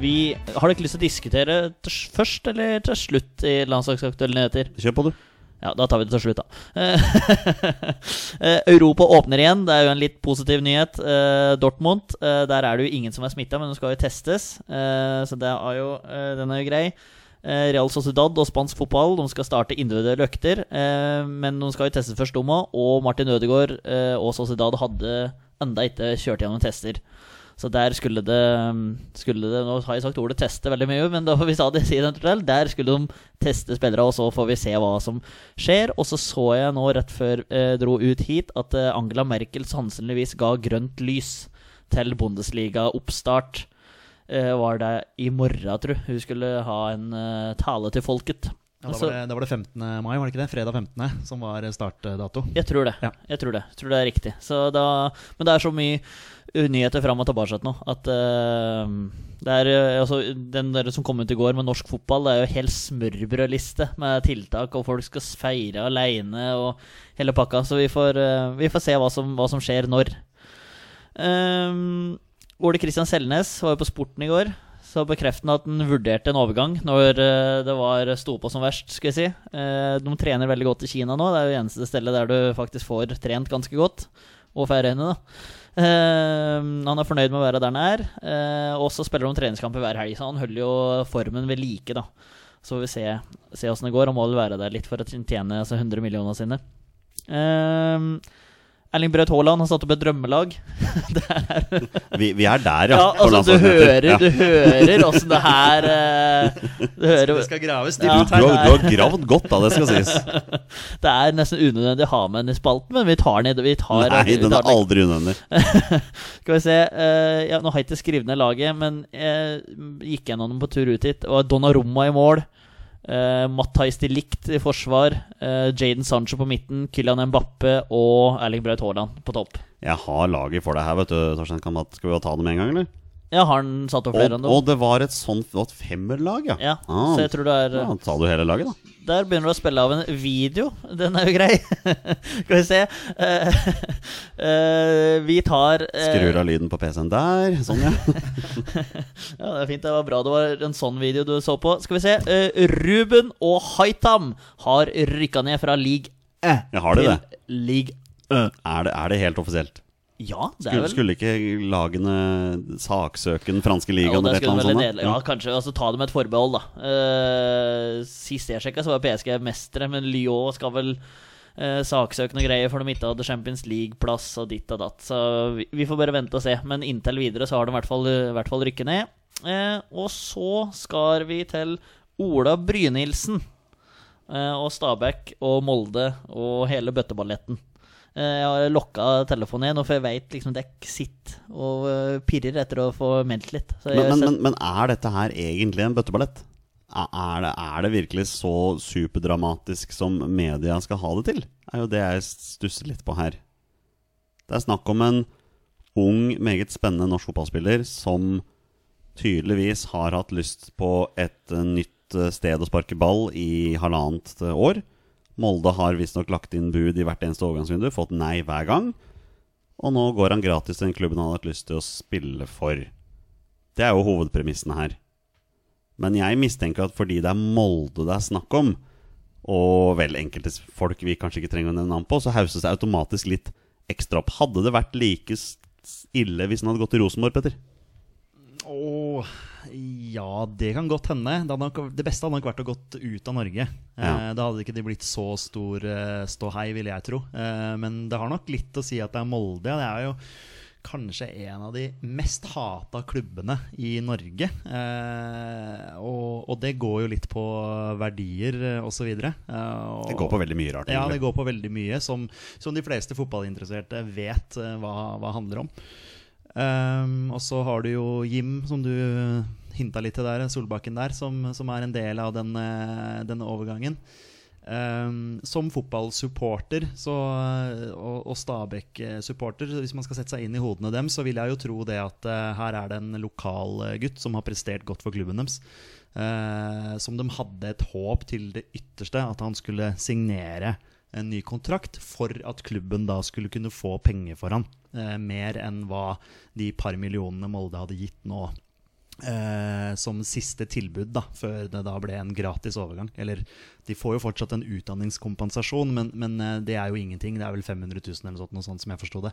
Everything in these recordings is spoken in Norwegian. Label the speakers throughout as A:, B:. A: vi Har dere lyst til å diskutere til s- først eller til slutt i Landslagsaktuelle nyheter?
B: Kjør på, du.
A: Ja, da tar vi det til slutt, da. Eh, Europa åpner igjen. Det er jo en litt positiv nyhet. Eh, Dortmund, eh, der er det jo ingen som er smitta, men de skal jo testes. Eh, Så det er jo, eh, den er jo grei. Eh, Real Sociedad og spansk fotball de skal starte individuelle økter. eh, Men de skal jo testes først, de òg. Og Martin Ødegaard eh, og Sociedad hadde enda ikke kjørt gjennom tester. Så der skulle det, skulle det Nå har jeg sagt ordet 'teste' veldig mye, men da får vi sa det si det naturlig. Der skulle de teste spillere, og så får vi se hva som skjer. Og så så jeg nå rett før jeg dro ut hit, at eh, Angela Merkel sannsynligvis ga grønt lys til Bundesliga-oppstart. Eh, var det i morgen, tru. Hun skulle ha en eh, tale til folket.
C: Ja, da,
A: Så-
C: var det, da var det 15. mai, var det ikke det? Fredag 15. som var startdato.
A: Jeg tror det.
C: Ja.
A: Jeg tror det Jeg tror det er riktig. Så da, men det er så mye uh, nyheter fram og tilbake nå at eh, det er, eh, altså, Den der som kom ut i går med norsk fotball, det er jo helt smørbrødliste med tiltak, og folk skal feire aleine og hele pakka. Så vi får, eh, vi får se hva som, hva som skjer når. Ehm, Ole Kristian Selnes var jo på Sporten i går. Så bekreftet han at han vurderte en overgang når eh, det var sto på som verst. skal jeg si. Eh, De trener veldig godt i Kina nå. Det er jo eneste stedet der du faktisk får trent ganske godt. Og Færøyene, da. Eh, Han er fornøyd med å være der han er. eh, Og så spiller de treningskamper hver helg, så han holder jo formen ved like. da. Så får vi se, se hvordan det går. Han må vel være der litt for å tjene altså 100 millioner sine. Eh, Erling Braut Haaland har satt opp et drømmelag.
B: Vi, vi er der, ja.
A: Ja,
B: på
A: altså Du
B: landslagsnyheter.
A: hører du hører åssen det her eh, Du hører
C: Det skal graves
B: Ja. Du,
C: dypt
B: du, har,
C: her.
B: du har gravd godt, da, det skal sies.
A: Det er nesten unødvendig å ha med den i spalten, men vi tar den. i- Vi tar,
B: Nei,
A: vi
B: den
A: tar
B: er aldri unødvendig.
A: Skal vi se eh, ja, Nå har jeg ikke skrevet ned laget, men jeg gikk gjennom dem på tur ut hit. Og Donnarumma i mål. Uh, Matthijs de Licht i forsvar. eh, Jaden Sancho på midten. Kylian Mbappe og Erling Braut Haaland på topp.
B: Jeg har laget for deg her, vet du, Torstein Kamat. Skal vi ta det med en gang, eller?
A: Ja, har han satt opp flere
B: Og,
A: enn
B: og
A: dem?
B: det var et sånt det var et femmerlag, ja.
A: Ja,
B: Ah.
A: så jeg tror det er eh,
B: Ja, da tar du hele laget, da.
A: Der begynner du å spille av en video. Den er jo grei. Skal vi se. Eh, eh, vi tar eh,
B: Skrur av lyden på PC-en der. Sånn, ja.
A: Ja, det er fint. Det var bra det var en sånn video du så på. Skal vi se. Eh, Ruben og Haitam har rykka ned fra league Æ
B: Jeg har det, det.
A: til league
B: Er det, er det helt offisielt?
A: Ja, det
B: Skulle,
A: er vel
B: skulle ikke lagene saksøke den franske
A: Ja, og
B: ligaen
A: det
B: eller et
A: skulle
B: eller annet
A: vel
B: sånt?
A: nedle-
B: da?
A: ja, kanskje. Altså, ta det med et forbehold, da. Eh, sist jeg sjekka, så var PSG mestere, men Lyon skal vel uh, saksøke noe greier for de ikke hadde Champions League-plass og ditt og datt. Så vi, vi får bare vente og se. Men inntil videre så har de i hvert fall, i hvert fall rykket ned. Eh, og så skal vi til Ola Brynildsen. Eh, og Stabæk og Molde og hele bøtteballetten. Eh, jeg har lokka telefonen igjen, og for jeg veit liksom det er sitt og eh, pirrer etter å få meldt litt. Så jeg
B: Men, men,
A: sender-
B: men, men er dette her egentlig en bøtteballett? Er er det, er det virkelig så superdramatisk som media skal ha det til? Det er jo det jeg stusser litt på her. Det er snakk om en ung, meget spennende norsk fotballspiller som tydeligvis har hatt lyst på et eh, nytt eh, sted å sparke ball i halvannet eh, år. Molde har visstnok lagt inn bud i hvert eneste overgangsvindu, fått nei hver gang. Og nå går han gratis til den klubben han har hatt lyst til å spille for. Det er jo hovedpremissen her. Men jeg mistenker at fordi det er Molde det er snakk om, og vel enkelte folk vi kanskje ikke trenger å nevne navn på, så hauses det automatisk litt ekstra opp. Hadde det vært like s- ille hvis den hadde gått til Rosenborg, Petter?
C: Åh, ja, det kan godt hende. Det, hadde nok, det beste hadde nok vært å gått ut av Norge. Eh,
B: Ja.
C: da hadde ikke det blitt så stor eh, ståhei, vil jeg tro. Eh, men det har nok litt å si at det er Molde. ja. Det er jo kanskje en av de mest hata klubbene i Norge. Eh, og, og det går jo litt på verdier eh, og så videre. Eh, og,
B: Det går på veldig mye rart.
C: ja, det
B: egentlig.
C: går på veldig mye, som, som de fleste fotballinteresserte vet eh, hva, hva handler om. Ehm, og så har du jo Jim, som du hinta litt til der, Solbakken der, som, som er en del av den, eh, denne overgangen. Ehm, som fotballsupporter så, eh, og, og Stabæk-supporter, så hvis man skal sette seg inn i hodene dem, så vil jeg jo tro det at eh, her er det en lokal eh, gutt som har prestert godt for klubben deres. Eh, som de hadde et håp til det ytterste, at han skulle signere en ny kontrakt for at klubben da skulle kunne få penger for han. Eh, mer enn hva de par millionene Molde hadde gitt nå. Eh, som siste tilbud, da, før det da ble en gratis overgang. Eller de får jo fortsatt en utdanningskompensasjon, men, men eh, det er jo ingenting. Det er vel 500 000 eller noe sånt, noe sånt som jeg forsto det.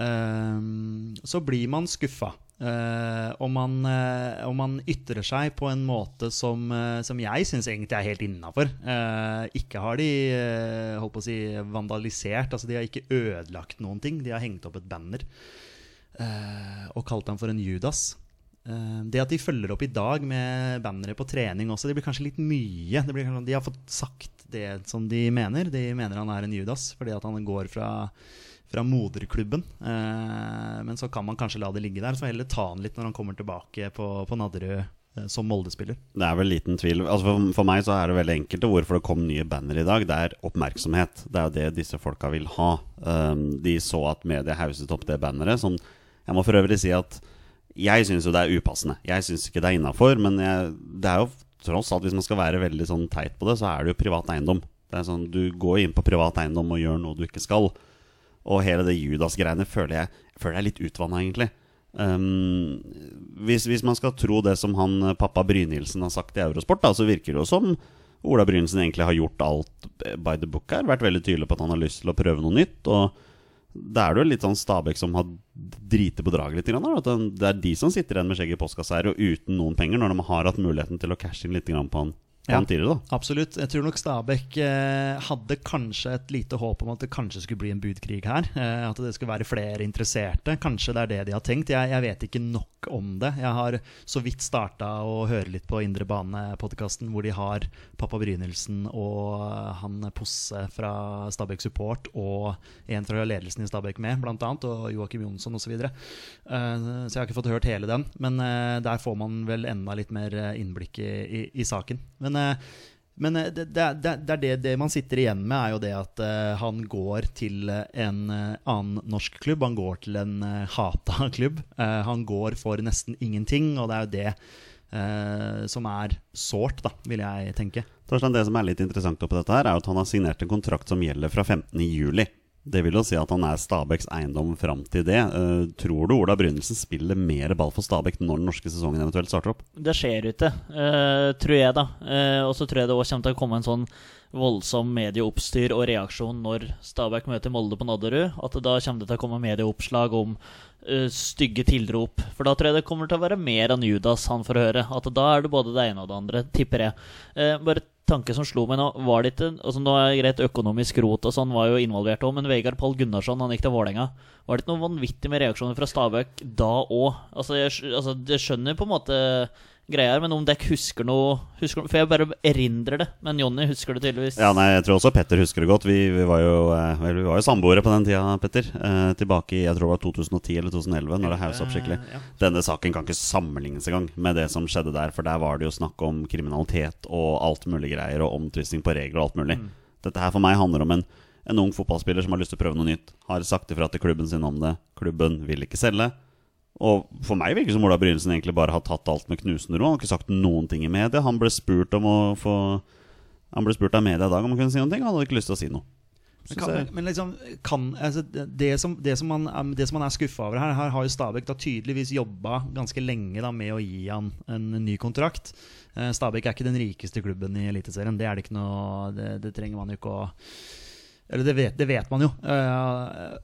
C: Ehm, så blir man skuffa. Eh, og, man, eh, og man ytrer seg på en måte som, eh, som jeg syns egentlig er helt innafor. ikke har de eh, holdt på å si, vandalisert, altså de har ikke ødelagt noen ting. De har hengt opp et banner eh, og kalt ham for en Judas. Eh, Det at de følger opp i dag med bannere på trening også, det blir kanskje litt mye. Det blir, kanskje- sånn, de har fått sagt det som de mener. De mener han er en Judas fordi at han går fra, fra moderklubben. Eh, Men så kan man kanskje la det ligge der. Så heller ta han litt når han kommer tilbake på, på Nadderud eh, som Molde-spiller.
B: Det er vel liten tvil. Altså for, for meg så er det veldig enkelt og hvorfor det kom nye banner i dag. Det er oppmerksomhet. Det er jo det disse folka vil ha. Um, de så at media hauset opp det banneret, som jeg må for øvrig si at jeg syns jo det er upassende. Jeg syns ikke det er innafor, men jeg, det er jo tross alt, hvis man skal være veldig sånn teit på det, så er det jo privat eiendom. Det er sånn, Du går inn på privat eiendom og gjør noe du ikke skal. Og hele det Judas-greiene føler jeg, føler jeg er litt utvanna, egentlig. Eh, Ehm, hvis, hvis man skal tro det som han eh, pappa Brynildsen har sagt i Eurosport, da, så virker det jo som Ola Brynildsen egentlig har gjort alt eh, by the book her. Vært veldig tydelig på at han har lyst til å prøve noe nytt. Og da er det jo litt sånn Stabæk som har driti på draget litt. Grann, da, at den- det er de som sitter igjen med skjegget i postkassa her og uten noen penger, når de har hatt muligheten til å cashe inn litt grann på han, på
C: Ja.
B: han tidligere. da
C: Absolutt. Jeg tror nok Stabæk eh, hadde kanskje et lite håp om at det kanskje skulle bli en budkrig her. Eh, at det skulle være flere interesserte. Kanskje det er det de har tenkt. Jeg, jeg vet ikke nok om det. Jeg har så vidt starta å høre litt på Indre Bane-podkasten, hvor de har pappa Brynildsen og eh, han Posse fra Stabæk Support og en fra ledelsen i Stabæk med, blant annet, og Joakim Jonsson osv. Så, videre. eh, så jeg har ikke fått hørt hele den, men eh, der får man vel enda litt mer eh, innblikk i, i, i saken. Men eh, men eh, det, det, det, det, er det, det man sitter igjen med, er jo det at eh, han går til eh, en eh, annen norsk klubb. Han går til en eh, hata klubb. Eh, han går for nesten ingenting, og det er jo det eh, som er sårt, da, vil jeg tenke.
B: Torstein, Det som er litt interessant oppi dette, her er jo at han har signert en kontrakt som gjelder fra 15.07. Det vil jo si at han er Stabæks eiendom fram til det. Eh, tror du Ola Brynildsen spiller mer ball for Stabæk når den norske sesongen eventuelt starter opp?
A: Det skjer ute, eh, tror jeg, da. Eh, og så tror jeg det også kommer til å komme en sånn voldsom medieoppstyr og reaksjon når Stabæk møter Molde på Nadderud. At da kommer det til å komme medieoppslag om eh, stygge tilrop. For da tror jeg det kommer til å være mer enn Judas han får høre. At da er det både det ene og det andre, tipper jeg. Eh, bare tanke som slo meg nå, var det ikke altså Nå er det greit økonomisk rot og sånn var jo involvert òg, men Vegard Pall Gunnarsson, han gikk til Vålerenga. Var det ikke noe vanvittig med reaksjoner fra Stabæk da òg? Altså, jeg skj- altså, jeg skjønner på en måte greia her, men om dere husker noe husker, For jeg bare erindrer det, men Jonny husker det tydeligvis.
B: Ja, nei, Jeg tror også Petter husker det godt. Vi, vi var jo eh, vel, vi var jo samboere på den tida, Petter. Eh, tilbake i jeg tror det var 2010 eller 2011, når det haussa opp skikkelig.
C: Eh, ja.
B: Denne saken kan ikke sammenlignes engang med det som skjedde der, for der var det jo snakk om kriminalitet og alt mulig greier, og omtvisting på regler og alt mulig. Dette her for meg handler om en, en ung fotballspiller som har lyst til å prøve noe nytt, har sagt ifra til klubben sin om det, klubben vil ikke selge. Og for meg virker det som Ola Brynesen egentlig bare har tatt alt med knusende ro. Han har ikke sagt noen ting i media. Han ble spurt om å få Han ble spurt av media i dag om han kunne si noen ting. Han hadde ikke lyst til å si noe.
C: Men,
B: Synes
C: kan,
B: jeg-
C: men liksom, kan, altså, det- det, som, det, som man, er- det som man er skuffa over her, her har jo Stabæk da tydeligvis jobba ganske lenge da, med å gi han en ny kontrakt. Eh, Stabæk er ikke den rikeste klubben i Eliteserien. Det er det ikke noe Det, det trenger man jo ikke å Eller det vet, det vet man jo. Eh,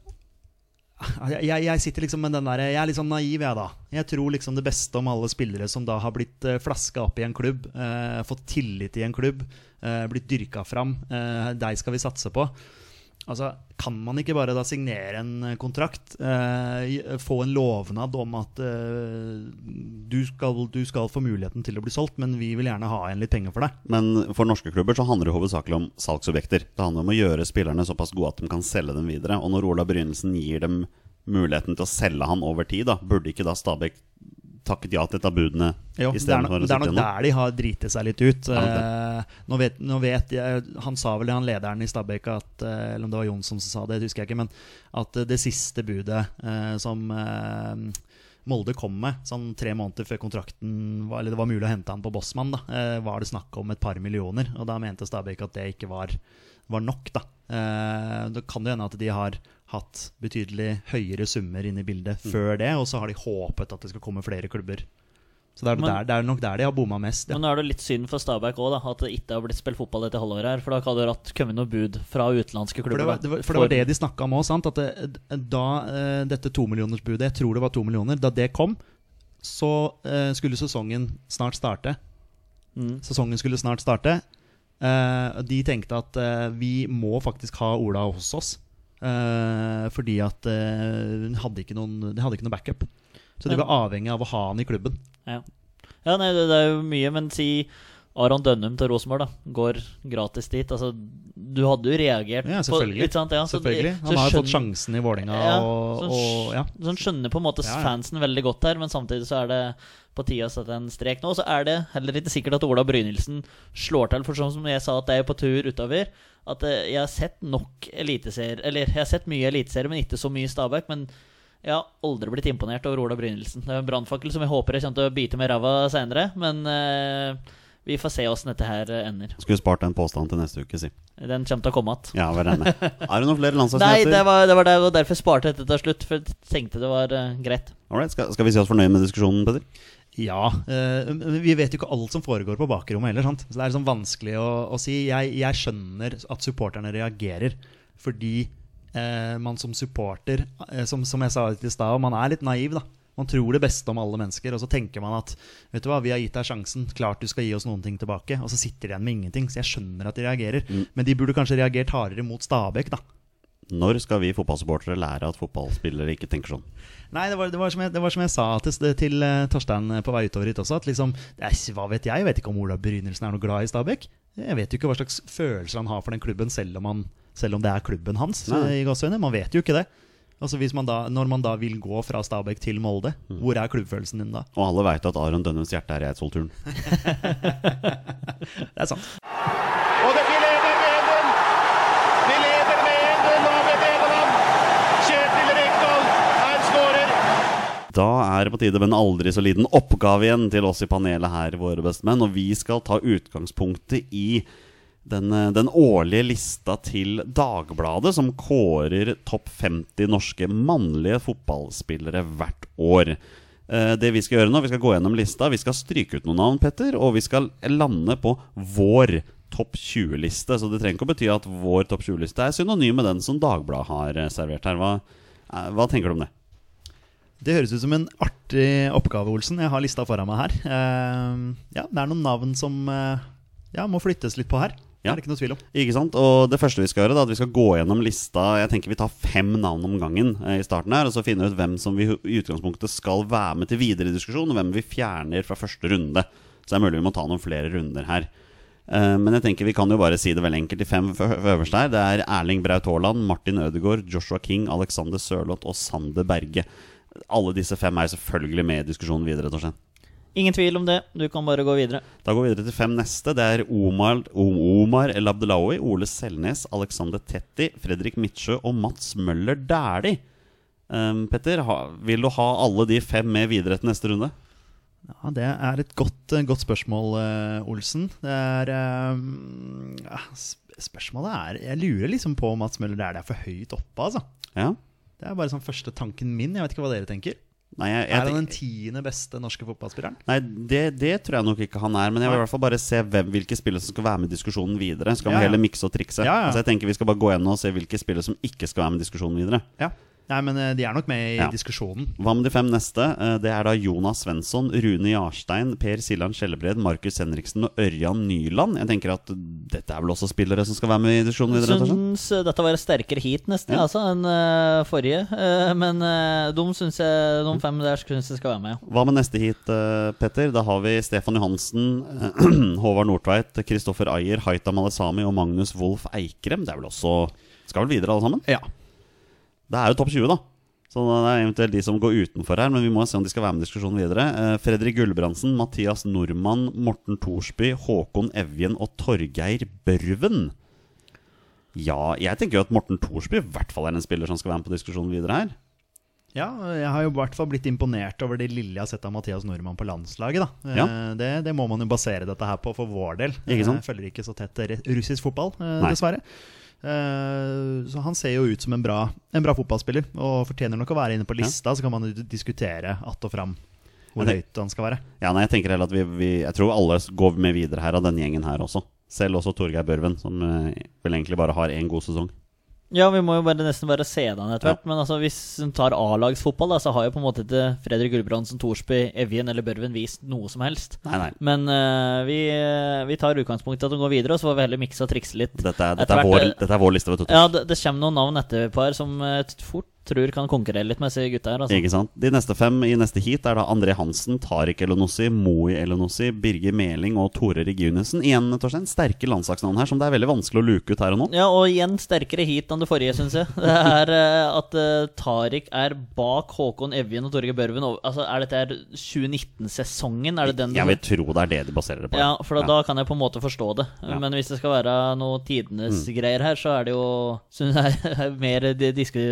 C: jeg, jeg- jeg sitter liksom med den der, jeg er litt sånn naiv, jeg da. Jeg tror liksom det beste om alle spillere som da har blitt eh, flaska opp i en klubb, eh, fått tillit i en klubb, eh, blitt dyrka fram. Eh, deg skal vi satse på. Altså, Kan man ikke bare da signere en eh, kontrakt? Eh, gi- få en lovnad om at eh, du, skal, du skal få muligheten til å bli solgt, men vi vil gjerne ha igjen litt penger for deg.
B: Men for norske klubber så handler det hovedsakelig om salgsobjekter. Det handler om å gjøre spillerne såpass gode at de kan selge dem videre. Og når Ola Brynesen gir dem muligheten til å selge han over tid, da, burde ikke da Stabæk takket ja til et av budene
C: Jo, det er, nok,
B: istedenfor å
C: det er
B: sitte
C: nok
B: igjen? da?
C: der de har driti seg litt ut.
B: nok det.
C: Eh, nå, vet, nå vet jeg Han sa vel det, han lederen i Stabæk, at, eh, eller om det var Jonsson som sa det, det husker jeg ikke, men at eh, det siste budet eh, som eh, Molde kom med, sånn tre måneder før kontrakten var, Eller det var mulig å hente han på Bossmann, da, eh, var det snakk om et par millioner. Og da mente Stabæk at det ikke var, var nok, da. Eh, da kan det hende at de har hatt betydelig høyere summer inne i bildet
A: Mm.
C: før det, og så har de håpet at det skal komme flere klubber så det er,
A: Men-
C: der, det er nok der de har bomma mest. Ja.
A: Men nå er det litt synd for Stabæk òg, at det ikke har blitt spilt fotball dette halvåret her. For da hadde det hatt kommet noe bud fra utenlandske
C: For det,
A: klubber.
C: var,
A: da.
C: det var, for det var det de snakka om òg. At det, da eh, dette tomillionersbudet, jeg tror det var to millioner, da det kom, så eh, skulle sesongen snart starte.
A: Mm.
C: Sesongen skulle snart starte. Eh, de tenkte at eh, vi må faktisk ha Ola hos oss. Eh, fordi at eh, hun hadde ikke noen, de hadde ikke noe backup. Så de
A: Men-
C: var avhengig av å ha han i klubben.
A: Ja, nei, det, det er jo mye, men si Aron Dønnum til Rosenborg, da. Går gratis dit. Altså, du hadde jo reagert.
C: Ja,
A: på-
C: selvfølgelig.
A: ikke sant? Ja, så-
C: Selvfølgelig.
A: Altså, så
C: Han har jo fått
A: skjønner-
C: sjansen i Vålinga
A: Ja,
C: og,
A: så
C: og ja.
A: Så han skjønner på en måte
C: Ja, ja.
A: fansen veldig godt her, men samtidig så er det på tide å sette en strek nå. Og så er det heller ikke sikkert at Ola Brynildsen slår til, for sånn som jeg sa at det er på tur utover, at eh, jeg har sett nok eliteserier Eller jeg har sett mye eliteserier, men ikke så mye Stabæk. Men jeg har aldri blitt imponert over Ola Brynildsen. Det er en brannfakkel som jeg håper jeg kommer til å bite med ræva seinere, men eh, Vi får se åssen dette her eh, ender.
B: Skulle spart den påstanden til neste uke, si.
A: Den kommer til å komme igjen.
B: Ja, vær enig. Er det noen flere
A: Nei, det
B: landslagsnyheter?
A: var, det var der, og derfor sparte jeg dette til slutt, for jeg tenkte det var eh, greit.
B: Alright, skal, skal vi si oss fornøyd med diskusjonen, Peder?
C: Ja. eh, men vi vet jo ikke alt som foregår på bakrommet heller. Sant? Så det er liksom vanskelig å, å si. Jeg, jeg skjønner at supporterne reagerer. Fordi eh, man som supporter, eh, som, som jeg sa litt i stad, man er litt naiv, da. Man tror det beste om alle mennesker, og så tenker man at Vet du hva, vi har gitt deg sjansen, klart du skal gi oss noen ting tilbake. Og så sitter de igjen med ingenting. Så jeg skjønner at de reagerer. Men de burde kanskje reagert hardere mot Stabæk, da.
B: Når skal vi fotballsupportere lære at fotballspillere ikke tenker sånn?
C: Nei, det var, det, var som jeg, det var som jeg sa til, til eh, Torstein eh, på vei utover hit også, at liksom det er, Hva vet jeg? Jeg vet ikke om Ola Brynildsen er noe glad i Stabæk. Jeg vet jo ikke hva slags følelser han har for den klubben, selv om, han, selv om det er klubben hans.
B: Nei.
C: eh, i gåseøyne. Man vet jo ikke det. Altså hvis man da, Når man da vil gå fra Stabæk til Molde, hvor er klubbfølelsen din da?
B: Og alle veit at Aron Dønnums hjerte er i Eidsvollturen.
C: Det er sant.
D: Og det, de leder med den. De leder med den av Edeland. Kjetil Rekdal, han skårer.
B: Da er det på tide med en aldri så liten oppgave igjen til oss i panelet her, våre bestemenn. Og vi skal ta utgangspunktet i den, eh, den årlige lista til Dagbladet, som kårer topp 50 norske mannlige fotballspillere hvert år. Eh, Det Vi skal gjøre nå, vi skal gå gjennom lista, vi skal stryke ut noen navn, Petter, og vi skal lande på vår topp 20-liste. Så det trenger ikke å bety at vår topp 20-liste er synonym med den som Dagbladet har eh, servert her. Hva, eh, hva tenker du om det?
C: Det høres ut som en artig oppgave, Olsen. Jeg har lista foran meg her. Eh, ja, det er noen navn som eh, ja, må flyttes litt på her.
B: Ja.
C: Det er det ikke noe tvil om.
B: Ikke sant? Og det første vi skal gjøre, da, er at vi skal gå gjennom lista Jeg tenker vi tar fem navn om gangen eh, i starten her, og så finne ut hvem som vi i utgangspunktet skal være med til videre diskusjon, og hvem vi fjerner fra første runde. Så det er mulig vi må ta noen flere runder her. Eh, Men jeg tenker vi kan jo bare si det veldig enkelt. De fem ø- øverste her Det er Erling Braut Haaland, Martin Ødegaard, Joshua King, Alexander Sørloth og Sander Berge. Alle disse fem er selvfølgelig med i diskusjonen videre. Torstein.
A: Ingen tvil om det. Du kan bare gå videre.
B: Da går vi videre til fem neste. Det er Omar, Omar El Abdelawi, Ole Selnes, Alexander Tetti, Fredrik Midtsjø og Mats Møller Dæhlie. Ehm, Petter, ha, vil du ha alle de fem med videre til neste runde?
C: Ja, Det er et godt, eh, godt spørsmål, eh, Olsen. Det er eh, mm, ja, sp- Spørsmålet er Jeg lurer liksom på om Mats Møller der det er for høyt oppe, altså.
B: Ja?
C: Det er bare sånn første tanken min. Jeg vet ikke hva dere tenker.
B: Nei, jeg,
C: er han
B: jeg,
C: den tiende beste norske fotballspilleren?
B: nei det, det tror jeg nok ikke han er. Men jeg vil i hvert fall bare se hvem, hvilke spillere som skal være med i diskusjonen videre. Så kan
C: Ja,
B: vi
C: ja.
B: heller mikse og trikse.
C: Ja, ja.
B: Altså, jeg tenker Vi skal bare gå gjennom og se hvilke spillere som ikke skal være med i diskusjonen videre.
C: Ja. Nei, men eh, de er nok med i
B: Ja.
C: diskusjonen.
B: Hva med de fem neste? Eh, Det er da Jonas Svensson, Rune Jarstein, Per Siljan Skjellebred, Markus Henriksen og Ørjan Nyland. Jeg tenker at dette er vel også spillere som skal være med i diskusjonen videre? rett og slett?
A: Syns eh, dette var et sterkere heat nesten
B: Ja.
A: altså, enn eh, forrige. Eh, men eh, de, syns jeg, de fem der syns jeg skal være med.
B: Hva med neste hit, eh, Petter? Da har vi Stefan Johansen, Håvard Nordtveit, Kristoffer Ayer, Haita Malesami og Magnus Wolff Eikrem. Det er vel også Skal vel videre, alle sammen?
C: Ja.
B: Det er jo topp 20, da. Så det er eventuelt de som går utenfor her, men vi må se om de skal være med i diskusjonen videre. Eh, Fredrik Gulbrandsen, Mathias Nordmann, Morten Thorsby, Håkon Evjen og Torgeir Børven. Ja, jeg tenker jo at Morten Thorsby i hvert fall er en spiller som skal være med på diskusjonen videre her.
C: Ja, og jeg har jo i hvert fall blitt imponert over det lille jeg har sett av Mathias Nordmann på landslaget. da. Eh,
B: Ja.
C: Det, det må man jo basere dette her på for vår del. Eh,
B: Ikke sant?
C: Jeg følger ikke så tett re- russisk fotball, eh,
B: Nei.
C: dessverre. Eh, Så han ser jo ut som en bra, en bra fotballspiller, og fortjener nok å være inne på lista. Så kan man jo diskutere att og fram hvor
B: Jeg
C: høyt han skal være.
B: Ja, nei, Jeg tenker heller at vi, vi Jeg tror alle går med videre her av denne gjengen her også. Selv også Torgeir Børven, som eh, vel egentlig bare har én god sesong.
A: Ja, vi må jo bare nesten bare se det an etter hvert. Men altså, hvis en tar A-lagsfotball, da, så har jo på en måte ikke Fredrik Gulbrandsen, Thorsby, Evjen eller Børven vist noe som helst.
B: Nei, nei.
A: Men eh, vi, eh, vi tar utgangspunktet at de går videre, og så får vi heller mikse og trikse litt.
B: Dette er, dette
A: Etter
B: er,
A: hvert,
B: vår,
A: eh,
B: dette er vår liste, vet du.
A: Ja, det, det kommer noen navn etter et par som jeg fort tror kan konkurrere litt med disse gutta her. Altså.
B: Ikke sant? De neste fem i neste heat er da André Hansen, Tariq Elonossi, Moi Elonossi, Birger Meling og Tore Reginussen. Igjen, Torstein, sterke landslagsnavn her som det er veldig vanskelig å luke ut her og nå.
A: Ja, og igjen sterkere hit enn det forrige, syns jeg. Det er eh, at uh, Tariq er bak Håkon Evjen og Torgeir Børven. og- Altså, er dette her 2019-sesongen? Er det den du-
B: Jeg vil tro det er det de baserer det på.
A: Ja, for da, da kan jeg på en måte forstå det. Men hvis det skal være noe tidenes greier her, så er det jo synes jeg, mer di- disku,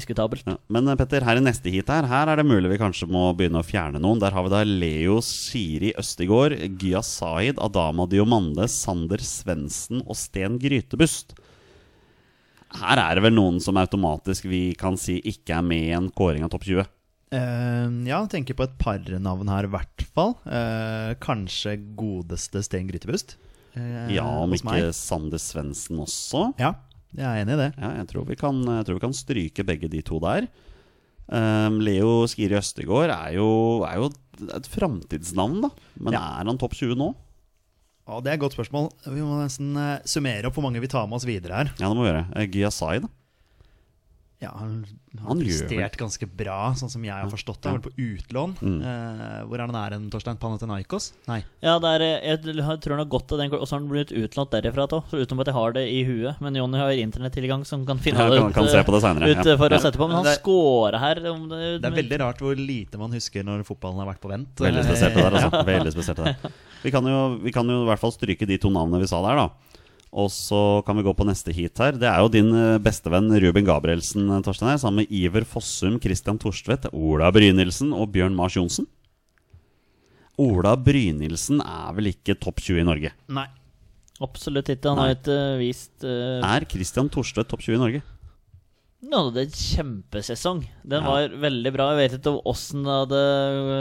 A: Diskutabelt.
B: Ja. Men eh, Petter, her i neste heat her, her er det mulig vi kanskje må begynne å fjerne noen. Der har vi da Leo Siri Østigård, Gya Zaid, Adama Diomande, Sander Svendsen og Sten Grytebust. Her er det vel noen som automatisk vi kan si ikke er med i en kåring av topp 20.
C: Eh, ja, tenker på et par navn her, i hvert fall. Eh, kanskje godeste Sten Grytebust. eh,
B: Ja, om
C: hos
B: ikke Sander Svendsen også.
C: Ja, jeg er enig i det.
B: Ja, jeg tror vi kan, jeg tror vi kan stryke begge de to der. Ehm, Leo Skiri Østegård er jo, er jo et framtidsnavn, da. Men er han topp 20 nå?
C: Å, det er et godt spørsmål. Vi må nesten eh, summere opp hvor mange vi tar med oss videre her.
B: Ja, det må vi gjøre. Eh, Gyasai, da.
C: Ja, han har
B: Han gjør
C: prestert ganske bra, sånn som jeg har forstått det. Han har vært på utlån.
B: Mm.
C: Eh, hvor er han er hen, Torstein? Panathenaikos? Nei.
A: Ja, det er, eh, jeg tror han har godt av den Og så har han blitt utlånt derifra òg, utenom at jeg har det i huet. Men Jonny har internettilgang, som kan finne
B: Ja,
A: det
B: kan- kan
A: eh,
B: se på det senere,
A: ut
B: ja.
A: eh, for
B: Ja.
A: oss etterpå. Men han
C: Det er-
A: scora her. Om det,
C: Det er veldig rart hvor lite man husker når fotballen har vært på vent. Eh,
B: Veldig spesielt det der, altså. Veldig spesielt det der. Vi kan, jo, vi kan jo i hvert fall stryke de to navnene vi sa der, da. Og så kan vi gå på neste heat her. Det er jo din eh, bestevenn Ruben Gabrielsen, eh, Torstein, her, sammen med Iver Fossum, Christian Torstvedt, Ola Brynildsen og Bjørn Mars Johnsen. Ola Brynildsen er vel ikke topp 20 i Norge?
C: Nei.
A: Absolutt ikke. Han har ikke eh, vist eh,
B: Er Christian Torstvedt topp 20 i Norge?
A: Han hadde en kjempesesong. Den
B: Ja.
A: var veldig bra. Jeg vet ikke åssen det hadde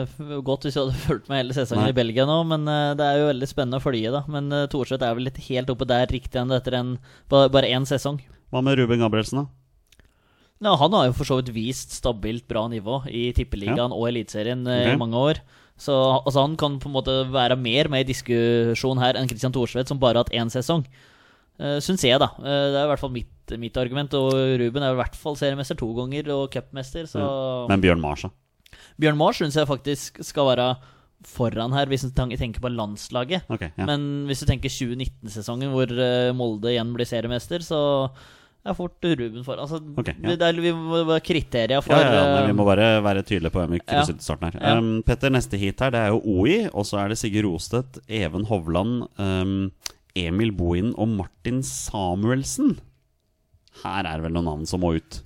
A: eh, gått hvis jeg hadde fulgt med hele sesongen
B: Nei.
A: i Belgia nå, men eh, det er jo veldig spennende å følge, da. Men uh, Thorseth er vel ikke helt oppe der riktig ennå etter en, ba- bare én sesong.
B: Hva med Ruben Gabrielsen, da?
A: Ja, han har jo for så vidt vist stabilt bra nivå i Tippeligaen og Eliteserien eh,
B: Ok.
A: i mange år. Så altså, han kan på en måte være mer med i diskusjon her enn Christian Thorsvedt, som bare har hatt én sesong. Uh, Syns jeg, da. Eh, det er i hvert fall mitt, mitt argument. Og Ruben er i hvert fall seriemester to ganger og cupmester, så
B: Mm. Men Bjørn Mars, da?
A: Bjørn Mohr syns jeg faktisk skal være foran her, hvis du tan- tenker på landslaget.
B: Ok, ja.
A: Men hvis du tenker 2019-sesongen, hvor eh, Molde igjen blir seriemester, så er fort Ruben foran. Altså,
B: Ok, ja.
A: det er, vi må være kriterier for
B: Ja, ja, ja, men vi
A: eh,
B: må bare være tydelige på hvem vi
A: ja.
B: krysser til starten her.
A: Ja.
B: Um, Petter, neste hit her, det er jo OI, og så er det Sigurd Rostedt, Even Hovland, um, Emil Bohin og Martin Samuelsen. Her er det vel noen navn som må ut.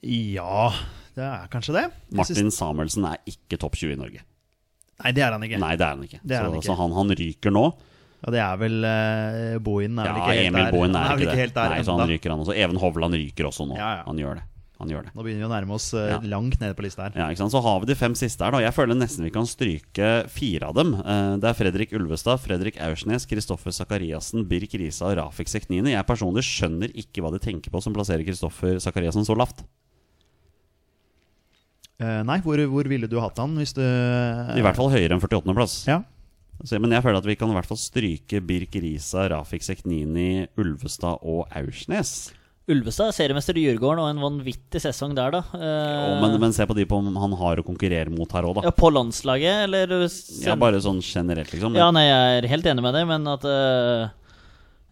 C: Ja, det er kanskje det. Jeg synes-
B: Martin Samuelsen er ikke topp 20 i Norge.
C: Nei, det er han ikke.
B: Nei, det er han ikke.
C: Det er
B: så,
C: han ikke.
B: så han, han ryker nå.
C: Og det er vel eh, Bohin er
B: Ja,
C: vel ikke helt
B: Emil
C: der.
B: Bohin er,
C: Han vel
B: ikke det.
C: helt der
B: Nei, så
C: enda.
B: han ryker han også. Even Hovland ryker også nå.
C: Ja, ja.
B: Han gjør det. Han gjør det.
C: Nå begynner vi å nærme oss eh,
B: Ja.
C: langt nede på lista her.
B: Ja, ikke sant? Så har vi de fem siste her. da Jeg føler nesten vi kan stryke fire av dem. Eh, Det er Fredrik Ulvestad, Fredrik Aursnes, Kristoffer Sakariassen, Birk Risa og Rafik Seknini. Jeg personlig skjønner ikke hva de tenker på som plasserer Kristoffer Sakariassen så lavt.
C: Eh, nei, hvor, hvor ville du hatt han hvis du
B: I hvert fall høyere enn 48.-plass.
C: Ja.
B: Men jeg føler at vi kan i hvert fall stryke Birk Risa, Rafik Seknini, Ulvestad og Aursnes.
A: Ulvestad er seriemester i Djurgården, og en vanvittig sesong der, da. Eh,
B: Og, men, men se på de på om han har å konkurrere mot her òg,
A: ja,
B: da.
A: på landslaget, eller
B: Ja, bare sånn generelt, liksom.
A: Ja, nei, jeg er helt enig med deg, men at eh,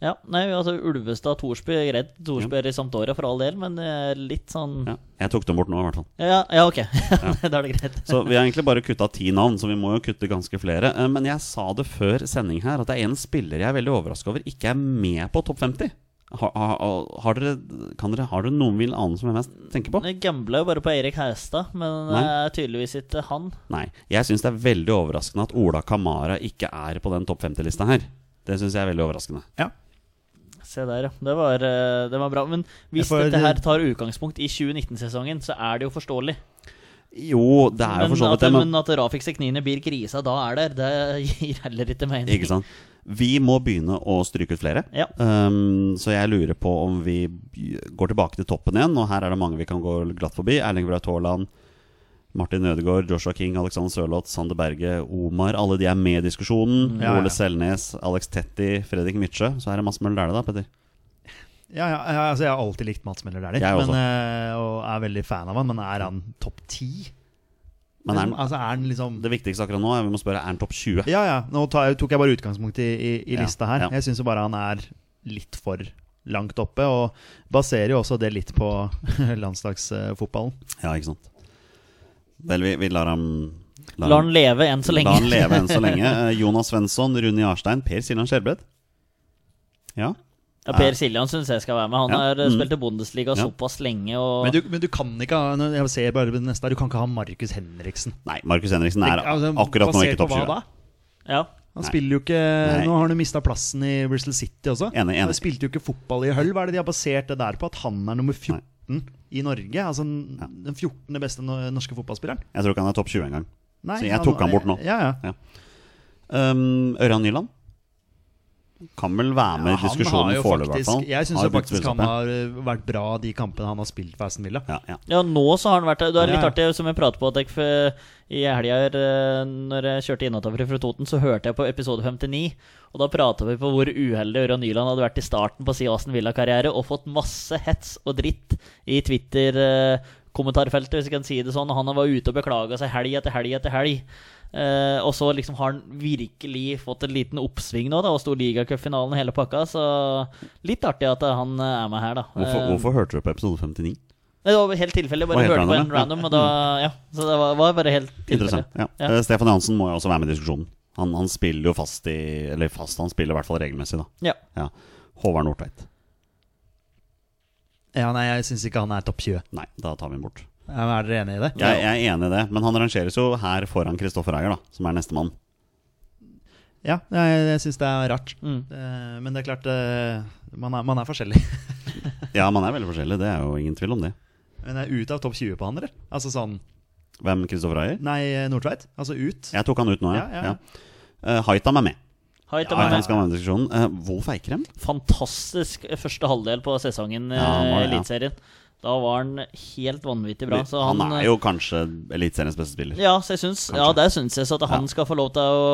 A: Ja, nei, altså Ulvestad, Thorsby er greit. Thorsby er i Sampdoria for all del, men det er litt sånn
B: Ja, jeg tok dem bort nå, i hvert fall.
A: Ja, ja ok. da er det greit.
B: Så vi har egentlig bare kutta ti navn, så vi må jo kutte ganske flere. Eh, Men jeg sa det før sending her, at det er en spiller jeg er veldig overraska over ikke er med på topp 50. Har, har, har, dere, kan dere, har dere noen vil anelse om hvem jeg tenker på?
A: Jeg gambla jo bare på Eirik Hestad, men det
B: Nei.
A: er tydeligvis ikke han.
B: Nei. Jeg syns det er veldig overraskende at Ola Kamara ikke er på den topp 50-lista her. Det syns jeg er veldig overraskende.
C: ja.
A: Se der, ja. Det var, eh, det var bra. Men
C: Ja,
A: hvis
C: for
A: dette her
C: det-
A: tar utgangspunkt i 2019-sesongen, så er det jo forståelig.
B: Jo, det er jo
A: Men
B: for så
A: at,
B: vidt det, men
A: men at Rafik Seknine blir grisa da er der, det gir heller ikke mening.
B: Ikke sant? Vi må begynne å stryke ut flere.
A: Ja.
B: Um, så jeg lurer på om vi by- går tilbake til toppen igjen. Og her er det mange vi kan gå glatt forbi. Erling Braut Haaland, Martin Ødegaard, Joshua King, Alexander Sørloth, Sander Berge, Omar. Alle de er med i diskusjonen.
C: Ja, ja.
B: Ole Selnes, Alex Tetti, Fredrik Mitsjø. Så her er Mads Møller Dæhlie, da, Petter.
C: Ja, ja, ja, altså jeg har alltid likt Mats Møller Dæhlie,
B: Jeg også.
C: men, eh, og er veldig fan av han. Men er han topp ti?
B: Men er
C: Liksom,
B: han,
C: altså, er han liksom
B: det viktigste akkurat nå er vi må spørre er han topp 20.
C: Ja, ja. Nå tar, tok jeg bare utgangspunkt i, i, i
B: Ja,
C: lista her.
B: ja.
C: Jeg syns jo bare han er litt for langt oppe, og baserer jo også det litt på landslagsfotballen.
B: Ja, ikke sant. Vel, vi, vi lar ham
A: La han leve enn så lenge.
B: La han leve enn så lenge. Eh, Jonas Svensson, Rune Jarstein, Per Siljan Skjelbred. Ja.
A: Ja, per Siljan syns jeg skal være med. Han
B: Ja,
A: har eh,
B: mm.
A: spilt i Bundesliga
B: Ja.
A: såpass lenge. Og
C: Men du, men du kan ikke ha nå- Jeg ser bare på det neste her, du kan ikke ha Markus Henriksen.
B: Nei, Markus Henriksen er
C: Altså,
B: akkurat nå
C: basert
B: ikke
C: på
B: topp
C: hva
B: 20.
C: da?
A: ja.
C: Han
B: Nei.
C: spiller jo ikke
B: Nei.
C: Nå har han jo mista plassen i Bristol City også.
B: Enig, enig.
C: Han spilte jo ikke fotball i Hull. Hva er det de har basert det der på? At han er nummer 14 i Norge? Altså den- den 14. beste no- norske fotballspilleren?
B: Jeg tror ikke han er topp 20 engang.
C: Nei,
B: Så jeg tok han bort nå.
C: Ja, ja.
B: Um, Ørjan Nyland? Kan vel være med
C: Ja,
B: i diskusjonen foreløpig, i hvert fall.
C: Jeg syns
B: Har
C: jo
B: jo blitt
C: faktisk
B: spilt
C: han
B: opp, ja.
C: har eh, vært bra de kampene han har spilt for Aston Villa.
B: Ja, ja.
A: ja, nå så har han vært der. Det er litt
C: Ja.
A: artig, som jeg pratet på at jeg, f- I helga her, eh, når jeg kjørte innover fra Toten, så hørte jeg på episode 59. Og da prata vi på hvor uheldig Ørjan Nyland hadde vært i starten på sin Aston Villa-karriere, og fått masse hets og dritt i Twitter. Eh, kommentarfeltet, hvis jeg kan si det sånn. Han var ute og beklaga seg helg etter helg etter helg. Eh, og så liksom har han virkelig fått en liten oppsving nå, da, og sto ligacupfinalen og hele pakka. Så litt artig at eh, han eh, er med her, da.
B: Hvorfor,
A: Eh,
B: hvorfor hørte du på episode 59?
A: Nei, det var helt tilfeldig. Bare
B: Var helt
A: hørte på en
B: random, ja.
A: random, og da Ja. Så det var, var bare helt tilfeldig.
B: Interessant. Ja.
A: Ja.
B: Eh, Stefan Johansen må jo også være med i diskusjonen. Han, han spiller jo fast i Eller fast, han spiller i hvert fall regelmessig, da.
A: Ja.
B: Ja. Håvard Nordtveit.
C: Ja, nei, jeg syns ikke han er topp 20.
B: Nei, da tar vi ham bort.
C: Ja, Er dere enig i det?
B: Jeg, jeg er enig i det, men han rangeres jo her foran Kristoffer Ager, da, som er nestemann.
C: Ja, jeg, jeg syns det er rart.
A: Mm.
C: Eh, Men det er klart, eh, man er, man er forskjellig.
B: Ja, man er veldig forskjellig, det er jo ingen tvil om det.
C: Men jeg er ut av topp 20 på han, eller? Altså sånn
B: Hvem Kristoffer Ager?
C: Nei, Nordtveit. Altså ut.
B: Jeg tok han ut nå, ja.
C: Ja, ja,
B: ja,
C: ja.
B: Eh, Haitham er med.
A: Hei til
B: Ja,
A: meg.
B: han skal være med i diskusjonen. Eh, Wolf Eikrem?
A: Fantastisk første halvdel på sesongen i
B: Ja, han var det, ja.
A: Eliteserien. Da var han helt vanvittig bra. Så
B: han,
A: han,
B: er jo kanskje Eliteseriens beste spiller.
A: ja, så jeg syns, ja,
B: Kanskje.
A: der syns jeg så at han
B: Ja.
A: skal få lov til å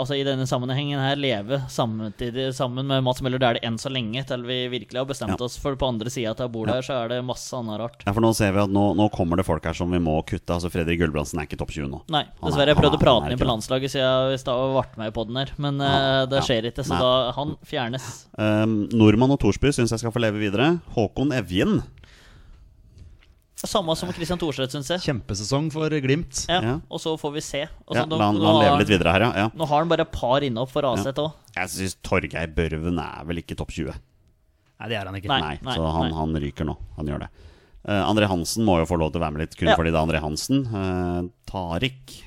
A: altså, i denne sammenhengen her leve samtidig sammen med Mats Møller. Det er det enn så lenge, til vi virkelig har
B: Ja.
A: bestemt oss for på andre sida av bordet her, så er det masse annet rart.
B: Ja, for nå ser vi at nå, nå kommer det folk her som vi må kutte. Altså Fredrik Gulbrandsen er ikke topp 20 nå.
A: Nei,
B: Han er-
A: dessverre. Jeg
B: han
A: prøvde
B: er-
A: å prate
B: han er
A: den inn
B: ikke
A: på landslaget, så jeg sta- ble med på den her. Men
B: Ja,
A: eh, det
B: ja.
A: skjer ikke, så
B: Nei.
A: da han fjernes.
B: Um, Nordmann og Thorsby syns jeg skal få leve videre. Håkon Evjen.
A: Samme som Christian Thorstvedt, syns jeg.
C: Kjempesesong for Glimt.
A: Ja,
B: Ja.
A: Og så får vi se. Altså,
B: Ja,
A: nå-
B: la han,
A: nå
B: la han
A: har
B: leve
A: han-
B: litt videre her, ja. ja.
A: Nå har han bare et par inne for Aset òg.
B: Jeg syns Torgeir Børven er vel ikke topp 20.
C: Nei, det er han ikke.
A: Nei.
B: Nei, så han,
A: nei.
B: han ryker nå. Han gjør det. Eh, André Hansen må jo få lov til å være med litt, kun
A: Ja.
B: fordi det er André Hansen. Eh, Tariq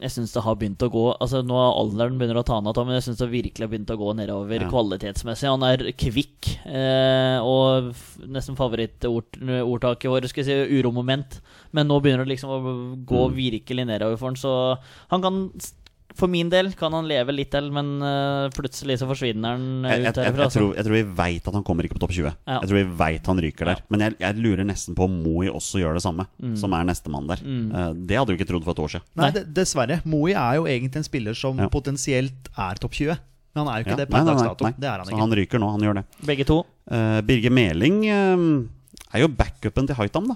A: Jeg syns det har begynt å gå Altså Nå har alderen begynner å ta han av, men jeg syns det virkelig har begynt å gå nedover
B: Ja.
A: kvalitetsmessig. Han er kvikk, eh, og f- nesten favorittordtaket i år, skal jeg si, uromoment. Men nå begynner det liksom å gå
B: Mm.
A: virkelig nedover for han, så han kan for min del kan han leve litt til, men eh, plutselig så forsvinner han eh,
B: jeg, jeg,
A: ut
B: jeg,
A: herfra.
B: jeg,
A: altså.
B: tror, jeg tror vi veit at han kommer ikke på topp 20.
A: Ja.
B: Jeg tror vi veit han ryker der. Men jeg, jeg lurer nesten på om Moi også gjør det samme, som er nestemann der. Eh, det hadde du ikke trodd for et år siden.
C: Nei,
A: Nei.
C: d- dessverre. Moi er jo egentlig en spiller som
B: Ja.
C: potensielt er topp 20. Men han er jo ikke
B: Ja.
C: det per
B: Nei, nei,
C: dags
B: nei,
C: dato.
B: nei.
C: Det er han
B: så
C: ikke.
B: han ryker nå. Han gjør det.
A: Begge to.
B: Eh, Birger Meling eh, er jo backupen til Haitam, da.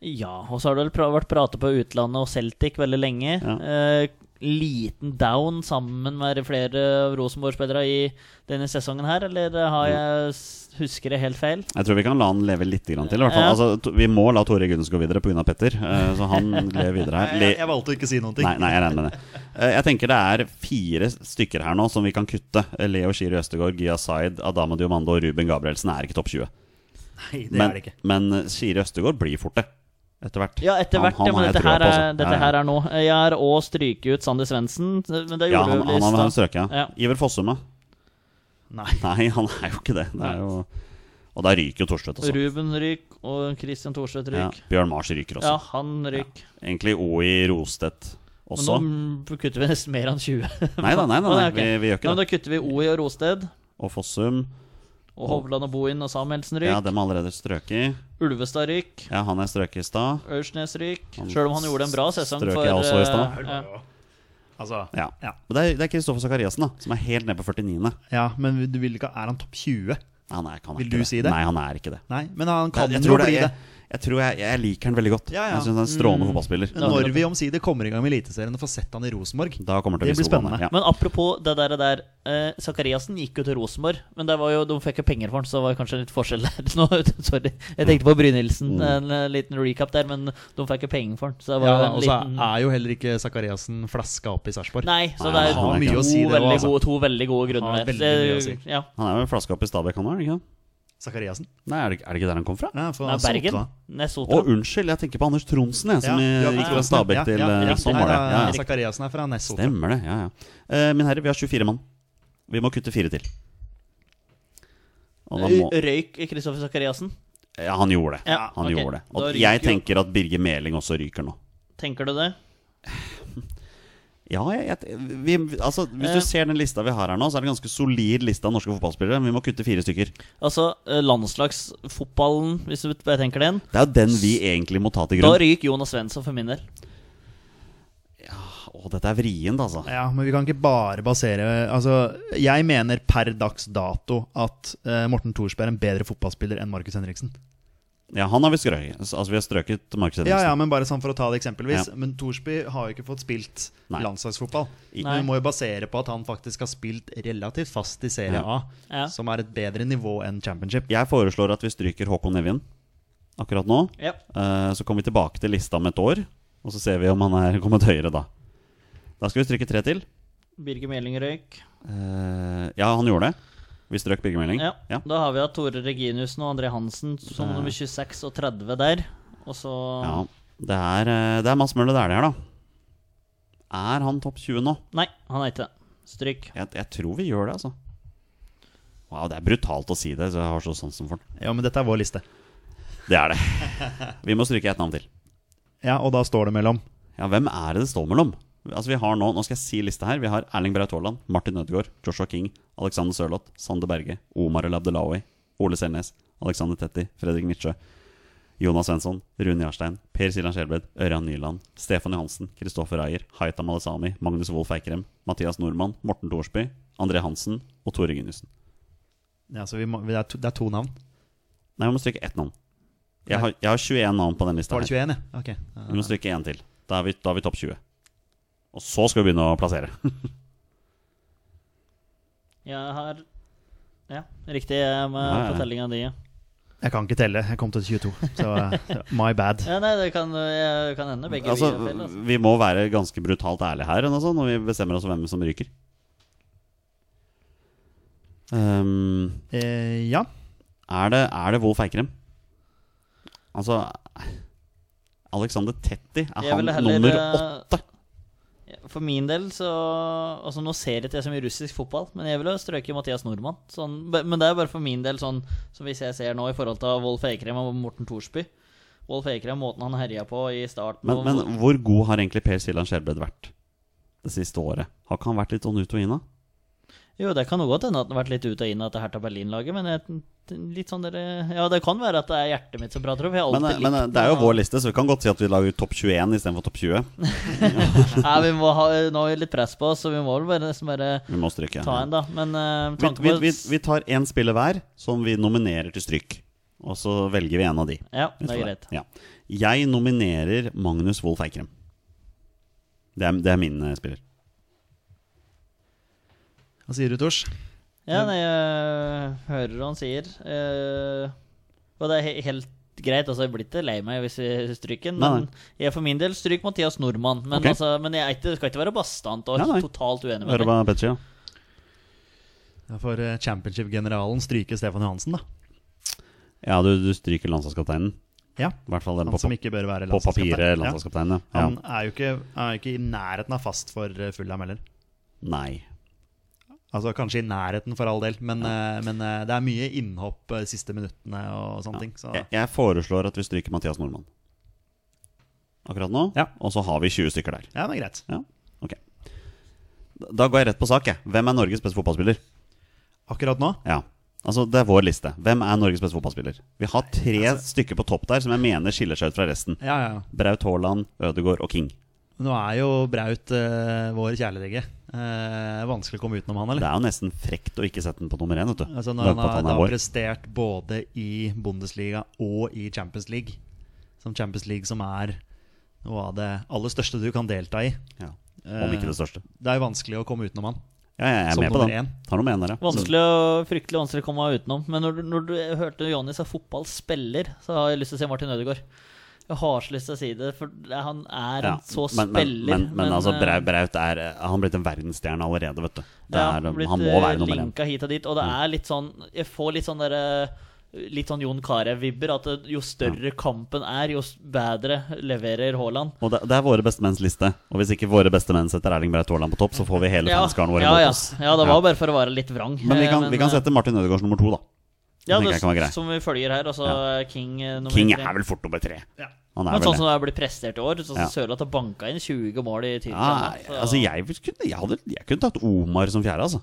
A: Ja, og så har det vel pra- vært pratet på utlandet og Celtic veldig lenge.
B: Ja.
A: Eh, liten down sammen med flere av Rosenborg-spillere i denne sesongen her, eller har jeg s- husker det helt feil?
B: Jeg tror vi kan la han leve litt grann til. I hvert fall.
A: Ja.
B: Altså, to- vi må la Tore Gunnes gå videre pga. Petter, eh, så han lever videre her.
C: Nei,
B: Le
C: jeg, jeg valgte å ikke si noen ting.
B: Nei, nei, jeg regner med det. Eh, Jeg tenker det er fire stykker her nå som vi kan kutte. Eh, Leo Shiri Østegård, Gia Zaid, Adama Diomando og Ruben Gabrielsen er ikke topp 20.
C: Nei, det
B: Men,
C: er det ikke.
B: men eh, Shiri Østegård blir fort det. Etter hvert.
A: Ja, etter hvert, ja,
B: har
A: men
B: jeg
A: dette,
B: trua
A: her
B: på, altså.
A: er, dette
B: Ja, ja.
A: her er nå. Eh, Jeg har òg stryket ut Sander Svendsen, men det
B: Ja,
A: gjorde
B: han,
A: du
B: han, han,
A: i
B: han
A: stad.
B: strøket.
A: Ja.
B: Iver Fossum, da?
C: Nei.
B: Nei, han er jo ikke det. det er jo... Og da ryker jo Torstvedt også.
A: Ruben ryk, og Christian Thorstvedt
B: Ja.
A: ryk.
B: Bjørn Mars ryker
A: Ja,
B: også.
A: han ryk.
B: Egentlig Oi Rostedt
A: Men
B: også.
A: nå kutter vi nesten mer enn 20.
B: Nei da, nei, da, nei, vi,
A: Å, ok.
B: vi gjør
A: Ja,
B: ikke
A: men
B: det.
A: Da kutter vi Oi og Rosted,
B: Og Fossum.
A: og Hovland og Bohin og Samuelsen ryk.
B: Ja, dem er allerede strøket.
A: Ulvestad ryk.
B: Ja, han er strøket i stad.
A: Aursnes ryk.
B: Han
A: Sjøl om han gjorde en bra sesong
B: strøk
A: for
B: jeg også i
A: eh,
B: stad.
A: ja.
C: Altså,
B: Ja.
C: Ja.
B: Men det er, det er Kristoffer Sakariassen, da, som er helt nede på 49.
C: ja, men du vil ikke Er han topp 20?
B: Han er, han er
C: Vil
B: ikke
C: du si det?
B: Nei, han er ikke det.
C: Nei, men han kan
B: jeg
C: jo
B: tror det
C: bli
B: er,
C: det.
B: jeg, Jeg tror jeg, jeg liker han veldig godt.
C: Ja, Mm. ja.
B: Jeg syns han er en strålende fotballspiller.
C: Når vi omsider kommer i gang med Eliteserien og får sett han i Rosenborg
B: Da kommer det til å bli
C: Det blir
B: stor bane.
C: spennende.
B: Ja.
A: Men apropos det der, der eh, Zakariassen gikk jo til Rosenborg, men det var jo, de fikk jo penger for den, så det var kanskje litt forskjell der. Nå, sorry. Jeg tenkte på Brynildsen,
B: Mm.
A: en eh, liten recap der, men de fikk jo penger for den. Så det var
C: ja,
A: jo en
C: Og så
A: liten
C: er jo heller ikke Zakariassen flaska opp i Sarpsborg.
A: Nei, så det er
B: Han har mye
A: to,
C: å si, det
A: veldig
C: også, altså.
A: gode, to veldig gode
C: Han
A: grunner
C: har
A: der.
C: veldig mye å
A: Det-
C: si.
A: Ja.
B: Han er jo flaska opp i Stabæk, han òg? Ikke? sant?
C: Zakariassen?
B: Nei, er det, ikke- er det ikke der han kom fra?
C: Ja, fra
A: Nei, Bergen.
C: Sotra.
B: Å,
A: Nessotra.
B: unnskyld, jeg tenker på Anders Tronsen, jeg, som
C: Ja,
B: eh,
C: ja,
B: gikk
C: ja,
B: fra Stabæk
C: ja,
B: til
C: ja,
B: eh,
C: ja,
B: Sånn
C: nei,
B: var det. Ja, ja.
C: nei, Zakariassen er fra Nessotra.
B: Stemmer det. ja, ja Eh, Min herre, vi har 24 mann. Vi må kutte fire til. Og
C: Eh,
B: da må
A: Eh, Røyk Kristoffer Zakariassen.
B: Ja, han gjorde det.
A: Ja,
B: Han
A: ok.
B: gjorde det. Og
A: Da ryker
B: jeg
A: jo-
B: tenker at Birger Meling også ryker nå.
A: Tenker du det?
B: Ja, jeg, jeg, vi, altså, Hvis
A: Eh.
B: du ser den lista vi har her nå, så er det en ganske solid liste av norske fotballspillere. Men vi må kutte fire stykker.
A: Altså, eh, landslagsfotballen, hvis du bare tenker den.
B: Det er jo den vi egentlig må ta til
A: Da
B: grunn.
A: ryker Jonas Svensson for min del.
B: Å, dette er vrient, altså.
C: Ja, men vi kan ikke bare basere Altså, jeg mener per dags dato at eh, Morten Thorsberg er en bedre fotballspiller enn Markus Henriksen.
B: Ja, han har vi strøket. Altså, vi har strøket Markus
C: Ja, ja,
B: Henriksen.
C: men bare sånn for å ta det eksempelvis.
B: Ja.
C: Men Thorsby har jo ikke fått spilt
B: Nei.
C: landslagsfotball.
B: I-
C: Men vi må jo basere på at han faktisk har spilt relativt fast i Serie
B: Ja.
C: A,
A: Ja.
C: som er et bedre nivå enn championship.
B: Jeg foreslår at vi stryker Håkon Evjen akkurat nå.
A: Ja.
B: Eh, Så kommer vi tilbake til lista om et år, og så ser vi om han er kommet høyere da. Da skal vi stryke tre til.
A: Birger Meling røyk.
B: Eh, Ja, han gjorde det. Vi strøk Birger Meling.
A: Ja.
B: Ja. Eh.
A: Da har vi hatt Tore Reginussen og André Hansen som nummer 26 og 30 der. Og så
B: Ja, Det er, eh, det er Mads Møller Dæhlie her, da. Er han topp 20 nå?
A: Nei, han er ikke det. Stryk.
B: Jeg, jeg tror vi gjør det, altså. Wow, Det er brutalt å si det, så jeg har så sansen for den.
C: Ja, men dette er vår liste.
B: Det er det. Vi må stryke ett navn til.
C: Ja, og da står det mellom
B: Ja, hvem er det det står mellom? Altså vi har Nå nå skal jeg si lista her. Vi har Erling Braut Haaland, Martin Ødegaard, Joshua King, Alexander Sørloth, Sander Berge, Omar El Abdelawi, Ole Selnes, Alexander Tetti, Fredrik Nitsjø, Jonas Svensson, Rune Jarstein, Per Siljan Skjelbred, Ørjan Nyland, Stefan Johansen, Kristoffer Ayer, Haitam Alesami, Magnus Wolff Eikrem, Mathias Nordmann, Morten Thorsby, André Hansen og Tore Gunnussen.
C: ja, så vi må, det, er to, det er to navn.
B: Nei, vi må stryke ett navn. Jeg har, jeg har 21 navn på den lista
C: Var det
B: her.
C: 21, ja? Ok. Ja.
B: Vi må stryke én til. Da er vi, da er vi topp 20. Og så skal vi begynne å plassere.
A: Jeg har Ja, riktig eh, med
B: Ja, ja.
A: fortellinga di. Ja.
C: Jeg kan ikke telle. Jeg kom til 22, så eh, my bad.
A: Ja, nei, det kan, eh, kan hende begge
B: Altså,
A: vi gjør feil. Altså.
B: vi må være ganske brutalt ærlige her altså, når vi bestemmer oss for hvem som ryker. Ehm,
C: Eh, ja.
B: er, det, er det Wolf Eikrem? Altså Alexander Tetti, er
A: Jeg
B: han
A: ville heller,
B: nummer
A: eh,
B: åtte?
A: Ja, For min del så Altså Nå ser ikke jeg så mye russisk fotball, men jeg ville strøket Mathias Nordmann. Sånn, b- men det er bare for min del sånn som hvis jeg ser nå i forhold til Wolf Eikrem og Morten Thorsby. Wolf Eikrem, måten han herja på i starten
B: Men,
A: og-
B: men hvor god har egentlig Per Siljan Skjelbred vært det siste året? Har ikke han vært litt sånn ut og inn, da?
A: Jo, det kan jo godt hende at den har vært litt ut og inn av dette Hertha Berlin-laget, men jeg, litt sånn dere Ja, det kan være at det er hjertet mitt som prater om. for Jeg har
B: Men, eh,
A: alltid
B: men
A: likt
B: det er jo
A: den.
B: vår liste, så vi kan godt si at vi lager topp 21 istedenfor topp 20.
A: Nei, vi må ha Nå er det litt press på oss, så vi må vel bare, nesten bare
B: Vi må stryke.
A: ta en, da. Men eh,
B: Vi,
A: tanken
B: vi,
A: på
B: vi, vi tar én spiller hver som vi nominerer til stryk. Og så velger vi en av de.
A: Ja, det er
B: Utover
A: greit.
B: Ja. Jeg nominerer Magnus Wolff Eikrem. Det er, det er min eh, spiller.
C: Hva sier du, Tors?
B: Mm.
A: Ja, nei, jeg hører hva han sier. eh, og det er he helt greit. Altså, jeg blir ikke lei meg hvis vi stryker den.
B: Nei,
A: Men jeg for min del stryker Mathias Nordmann. Men,
B: Ok.
A: altså, men jeg er ikke, skal ikke være bastant og
B: Nei, nei.
A: totalt uenig med
B: Hører
A: deg.
B: hva Petri ja.
C: Da får eh, championship-generalen stryke Stefan Johansen, da.
B: Ja, du, du stryker landslagskapteinen.
C: Ja.
B: I hvert fall den
C: Han
B: på,
C: som
B: pa-
C: ikke bør være
B: på papiret.
C: Ja.
B: Landslagskapteinen, ja.
C: Han
B: ja.
C: er jo ikke, er jo ikke i nærheten av fast for eh, Fulham heller.
B: Nei.
C: Altså Kanskje i nærheten, for all del, men, eh, men eh, det er mye innhopp eh, siste minuttene og sånne ting. Så.
B: Jeg, jeg foreslår at vi stryker Mathias Nordmann akkurat nå.
C: Ja.
B: Og så har vi 20 stykker der.
C: Ja, men greit.
B: Ja, ok Da- Da går jeg rett på sak, jeg. Hvem er Norges beste fotballspiller?
C: Akkurat nå
B: Ja. Altså, Det er vår liste. Hvem er Norges beste fotballspiller? Vi har tre stykker på topp der som jeg mener skiller seg ut fra resten.
C: Ja, ja.
B: Braut Haaland, Ødegaard og King.
C: Nå er jo Braut eh, vår kjæledegge. Eh, vanskelig å komme utenom han,
B: Det
C: eller?
B: er jo nesten frekt å ikke sette den på nummer én. vet du
C: Altså
B: Bare
C: Når han
B: på at
C: har
B: han er
C: da
B: vår.
C: prestert både i Bundesliga og i Champions League, som Champions League, som er noe av det aller største du kan delta i.
B: Ja. Om ikke det største.
C: Det er jo vanskelig å komme utenom han.
B: Ja, jeg er
C: Eh, Som
B: med på
C: nummer
B: den.
C: én.
B: Tar nummer én der, ja.
A: Vanskelig å, fryktelig vanskelig å komme utenom. Men når du, når du hørte Jonny sa fotballspiller, så har jeg lyst til å si Martin Ødegaard. Jeg har så lyst til å si det, for det- han er
B: Ja,
A: en så
B: men, men,
A: spiller.
B: men, men altså,
A: eh,
B: Brau- Braut er Han har blitt en verdensstjerne allerede, vet du. Det
A: ja,
B: er,
A: har blitt,
B: han må
A: eh,
B: være nummer Mm. én.
A: linka hit og dit, og det er litt sånn Jeg får litt sånn derre Litt sånn Jon Carew-vibber. At eh, jo større kampen er, jo s- bedre leverer Haaland.
B: Og det, det er våre beste menns liste. Og hvis ikke våre beste menn setter Erling Braut Haaland på topp, så får vi hele fanskaren vår
A: ja,
B: mot
A: ja.
B: oss.
A: ja, det var
B: Ja.
A: bare for å være litt vrang.
B: Men vi
A: eh,
B: kan, vi kan
A: eh,
B: sette Martin Ødegaards nummer to, da.
A: ja,
B: tenker
A: det,
B: jeg kan være grei.
A: Som vi følger her. Altså
B: Ja.
A: King eh, nummer
B: King
A: tre.
B: er vel fort nummer tre. Han er
A: Men sånn
B: vel
A: som
B: det.
A: det har blitt prestert i år, sånn som
B: Ja.
A: Sørloth har banka inn 20 mål i
B: Ja,
A: Tyskland. så-
B: altså jeg, vil- kunne, jeg, hadde, jeg kunne tatt Omar som fjerde, altså.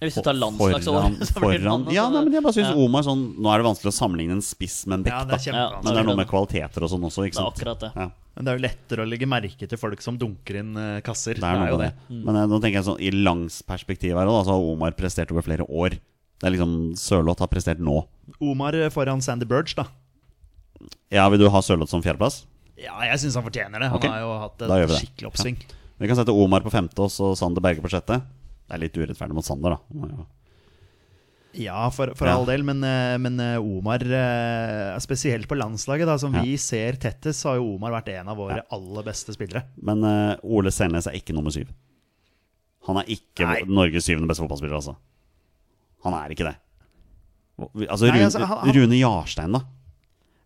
A: Hvis du tar
B: Foran,
A: landslagsåret, så blir det
B: foran
A: sånn,
B: Ja,
A: altså.
B: nei, men jeg bare synes
A: Ja.
B: Omar sånn Nå er det vanskelig å sammenligne en spiss med en
C: Ja,
B: bekk,
C: det
B: da.
C: er
A: Ja,
B: Men det
C: kjempevanskelig.
B: er noe med kvaliteter og sånn også, ikke
A: Det er
B: sant?
A: akkurat det.
B: Ja.
C: Men det er jo lettere å legge merke til folk som dunker inn eh, kasser.
B: Det er noe med det. Men eh, nå tenker jeg sånn i langs perspektiv her også, da, så har Omar prestert over flere år. Det er liksom Sørloth har prestert nå.
C: Omar eh, foran Sandy Burge, da.
B: Ja, vil du ha Sørloth som fjerdeplass?
C: Ja, jeg syns han fortjener det. Han
B: Ok.
C: har jo hatt
B: Da gjør vi
C: et
B: det.
C: skikkelig oppsving.
B: Vi kan sette Omar på femte og så Sander Berge på sjette. Det er litt urettferdig mot Sander, da.
C: Ja, for, for
B: Ja.
C: all del, men, eh, men eh, Omar eh, Spesielt på landslaget, da, som
B: Ja.
C: vi ser tettest, så har jo Omar vært en av våre aller beste spillere.
B: Men eh, Ole Selnes er ikke nummer syv. Han er ikke
C: Nei.
B: Norges syvende beste fotballspiller, altså. Han er ikke det. Vi- Altså,
C: Nei,
B: Rune,
C: altså, han- han-
B: Rune Jarstein, da.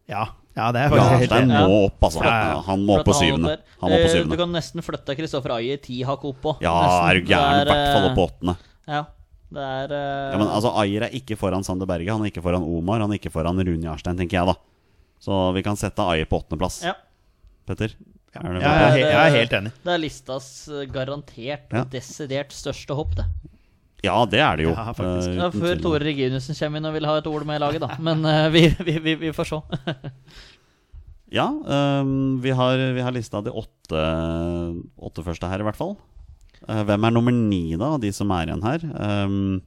C: Ja, ja det er faktisk helt
B: Jarstein
A: enig.
B: må
A: Ja.
B: opp, altså.
C: Ja, ja.
B: Han må opp på
A: For at han
B: syvende.
A: opp der.
B: Han må på
A: Eh, Du
B: syvende.
A: kan nesten flytte Kristoffer Aie ti hakk oppå.
B: Ja,
A: Nesten.
B: er du gæren? I
A: Det er,
B: hvert fall opp på åttende.
A: eh, Ja, det er eh,
B: Ja, men altså, Ayer er ikke foran Sander Berge, han er ikke foran Omar, han er ikke foran Rune Jarstein, tenker jeg, da. Så vi kan sette Ayer på åttendeplass,
A: ja,
B: Petter. Er det
C: Jeg
B: bra?
C: er, he- jeg er helt enig.
A: Det er listas eh, garantert
B: Ja.
A: desidert største hopp, det.
B: ja, det er det jo.
C: Ja, faktisk.
B: eh,
A: Ja,
B: uten
A: før
B: tvil.
A: Tore Reginiussen kommer inn og vil ha et ord med i laget, da. Men eh, vi, vi, vi, vi får se.
B: Ja, ehm, vi, har, vi har lista de åtte, åtte første her, i hvert fall. Eh, hvem er nummer ni, da, av de som er igjen her? Ehm,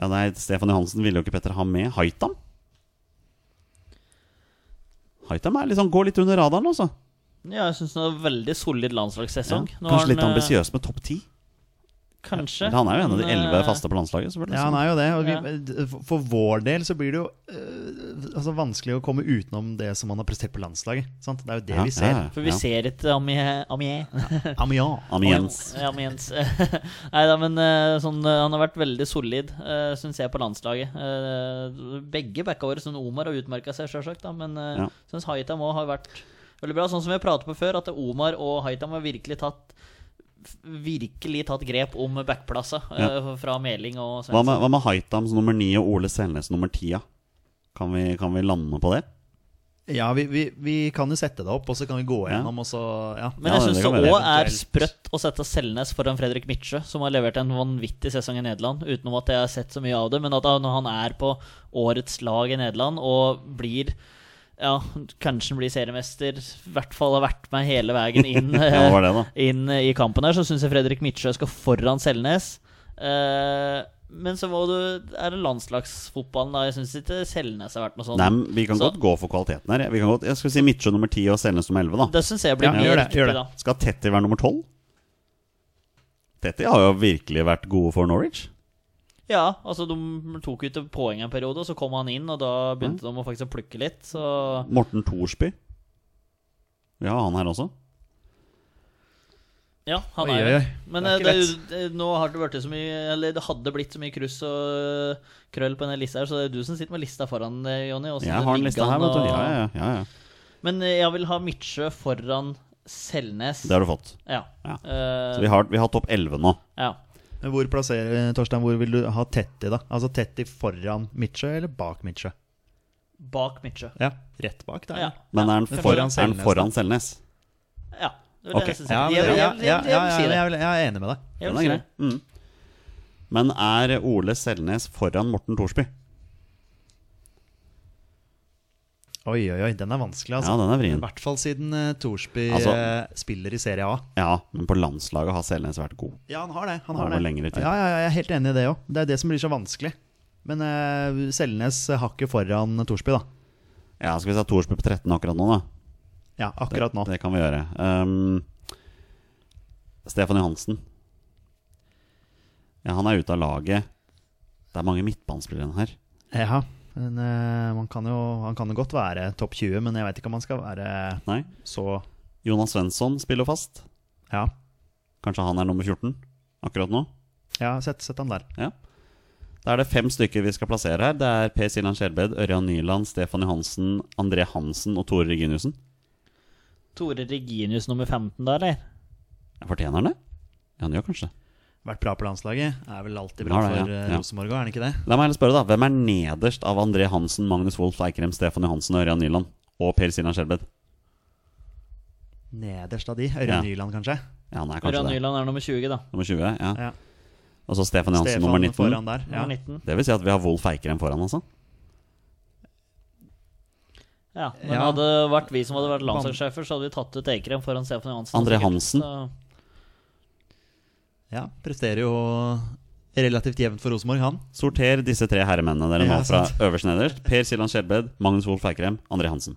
B: ja, nei, Stefan Johansen ville jo ikke Petter ha med. Haitam? Haitam er liksom, går litt under radaren, altså.
A: Ja, jeg syns det var en veldig solid landslagssesong.
B: Ja.
A: Nå har
B: Kanskje litt
A: han, eh,
B: ambisiøs med topp ti.
A: Kanskje.
B: Men Han er jo en av de
A: Men,
B: elleve
A: eh,
B: faste på landslaget. selvfølgelig
C: Ja, han er jo det. Og vi,
A: Ja.
C: d- for- for vår del så blir det jo eh, altså, vanskelig å komme utenom det som han har prestert på landslaget. Sant? Det er jo det
B: Ja,
C: vi ser.
B: ja, ja.
A: For vi ser ikke Amier. Amier.
C: Amiens.
B: Amiens.
A: Ja, Amiens. Nei da, men eh, sånn, eh, han har vært veldig solid, uh, syns jeg, på landslaget. Eh, begge backa våre, sånn Omar har utmerka seg, sjølsagt, da, men uh,
B: Ja.
A: syns Haitam òg har vært veldig bra. Sånn som vi har pratet på før, at Omar og Haitam har virkelig tatt Virkelig tatt grep om backplassa eh, fra Meling
B: Hva
A: og Svendsen.
B: med, hva med Haitams nummer ni og Ole Selnes nummer ti? ja? Kan, vi- kan vi lande på det?
C: Ja, vi, vi, vi kan jo sette det opp, og så kan vi gå gjennom, og så ja.
A: Men
B: Ja,
A: jeg
B: det
A: syns det
B: kan være
A: òg er
C: eventuelt.
A: sprøtt å sette Selnes foran Fredrik Mitsjø, som har levert en vanvittig sesong i Nederland, utenom at jeg har sett så mye av det. Men at han- når han er på årets lag i Nederland og blir ja, kanskje han blir seriemester, i hvert fall har vært med hele veien inn, eh,
B: Ja, det var det, da.
A: inn i kampen her, så syns jeg Fredrik Mitsjø skal foran Selnes. Eh, men så må du Er det landslagsfotballen, da? Jeg syns ikke Selnes har vært noe sånn.
B: Nei, men vi kan
A: Så-
B: godt gå for kvaliteten her. Vi kan godt, jeg skal si Midtsjø nummer 10 og Selnes nummer 11, da.
A: Det syns jeg blir
C: Ja,
A: mer
C: gjør det, gjør
A: riktig,
C: det.
A: da.
B: Skal Tetty være nummer 12? Tetty har jo virkelig vært gode for Norwich.
A: Ja, altså de tok ut poeng en periode, og så kom han inn, og da begynte de å faktisk å plukke litt. Så
B: Morten Thorsby. Vi har han her også.
A: ja, han
C: Oi,
A: er
C: oi,
A: jo
C: oi.
A: Men
C: Det
A: eh,
C: er ikke
A: det, er jo- det, nå har det blitt så mye Eller det hadde blitt så mye kryss og eh, krøll på denne lista her, så det er du som sitter med lista foran, eh, Jonny. og så
B: Jeg har den
A: ligger
B: lista her,
A: han
B: vet du.
A: og-
B: Ja, ja, ja, ja.
A: Men eh, jeg vil ha Midtsjø foran Selnes.
B: Det har du fått.
A: Ja.
B: Ja.
A: Eh,
B: Så vi har, vi har topp 11 nå.
A: ja.
C: Men Hvor plasserer eh, Torstein, hvor vil du ha Tetty, da? Altså Tetty foran Midtsjø eller bak Midtsjø?
A: Bak Midtsjø.
C: Ja, rett bak der.
A: Ja.
B: Men er
A: kanskje
B: han foran,
A: det.
B: er han
C: Selnes,
B: foran Selnes?
A: Ja. Det
B: Ok.
A: vil jeg si.
C: Ja,
A: Jeg
C: men, ja,
A: vil-
C: ja,
A: jeg vil-
C: ja,
A: jeg
C: ja,
A: vil si
C: jeg,
A: det.
C: vil- jeg er enig med deg.
A: Jeg
B: Den er
A: vil si
B: grei.
A: det.
B: Mm. Men er Ole Selnes foran Morten Thorsby?
C: Oi, oi, oi, den er vanskelig, altså.
B: Ja, den er
C: I
B: vrien.
C: hvert fall siden uh, Thorsby
B: Altså-
C: eh, spiller i Serie A.
B: Ja, men på landslaget har Selnes vært god.
C: Ja, han har det. Han
B: har
C: har
B: det
C: det.
B: lengre tid.
C: Ja, ja, ja, jeg er helt enig i det òg. Det er det som blir så vanskelig. Men eh, Selnes eh, hakket foran Thorsby, da.
B: Ja, skal vi si at Thorsby på 13 akkurat nå, da?
C: Ja, akkurat nå.
B: Det, det kan vi gjøre. Ehm, Stefan Johansen. Ja, han er ute av laget. Det er mange midtbanespillere her.
C: Ja, men eh, man kan jo, han kan jo godt være topp 20, men jeg vet ikke om han skal være
B: Nei.
C: så
B: Jonas Svensson spiller fast.
C: Ja,
B: Kanskje han er nummer 14 akkurat nå.
C: ja sett, sett han der.
B: Ja. Da er det fem stykker vi skal plassere her. Det er Per Siljan Skjelbred, Ørjan Nyland, Stefan Johansen, André Hansen og Tore Reginiussen.
A: Tore Reginius nummer 15 da, eller?
B: Jeg Fortjener han det? Ja, han gjør kanskje det.
C: Vært bra på landslaget. Er vel alltid bra
B: Har det,
C: for
B: ja,
C: eh,
B: ja.
C: Rosenborg òg, er han ikke det?
B: La meg heller spørre, da. Hvem er nederst av André Hansen, Magnus Wolff Eikrem, Stefan Johansen og Ørjan Nyland? Og Per Siljan Skjelbred?
C: Nederst av de.
B: Ja.
C: Ørjan Nyland, kanskje.
B: Ja, han er kanskje
A: Ørjan
B: det.
A: Nyland er nummer 20, da.
B: Nummer 20, ja.
C: Ja.
B: Og så Stefan Johansen
C: Stefan
B: nummer 19.
C: foran der. Ja.
A: Nummer 19.
B: Det vil si at vi har Wolf Eikrem foran, altså.
A: Ja, men
C: Ja.
A: hadde det vært vi som hadde vært landslagssjefer, så hadde vi tatt ut Eikrem foran Stefan Johansen.
B: André
A: sikkert.
B: Hansen.
A: Så-
C: ja, presterer jo relativt jevnt for Rosenborg, han.
B: Sorter disse tre herremennene dere nå
C: Ja,
B: fra
C: sant.
B: øverst nederst. Per Siljan Skjelbred, Magnus Wolf Eikrem, André Hansen.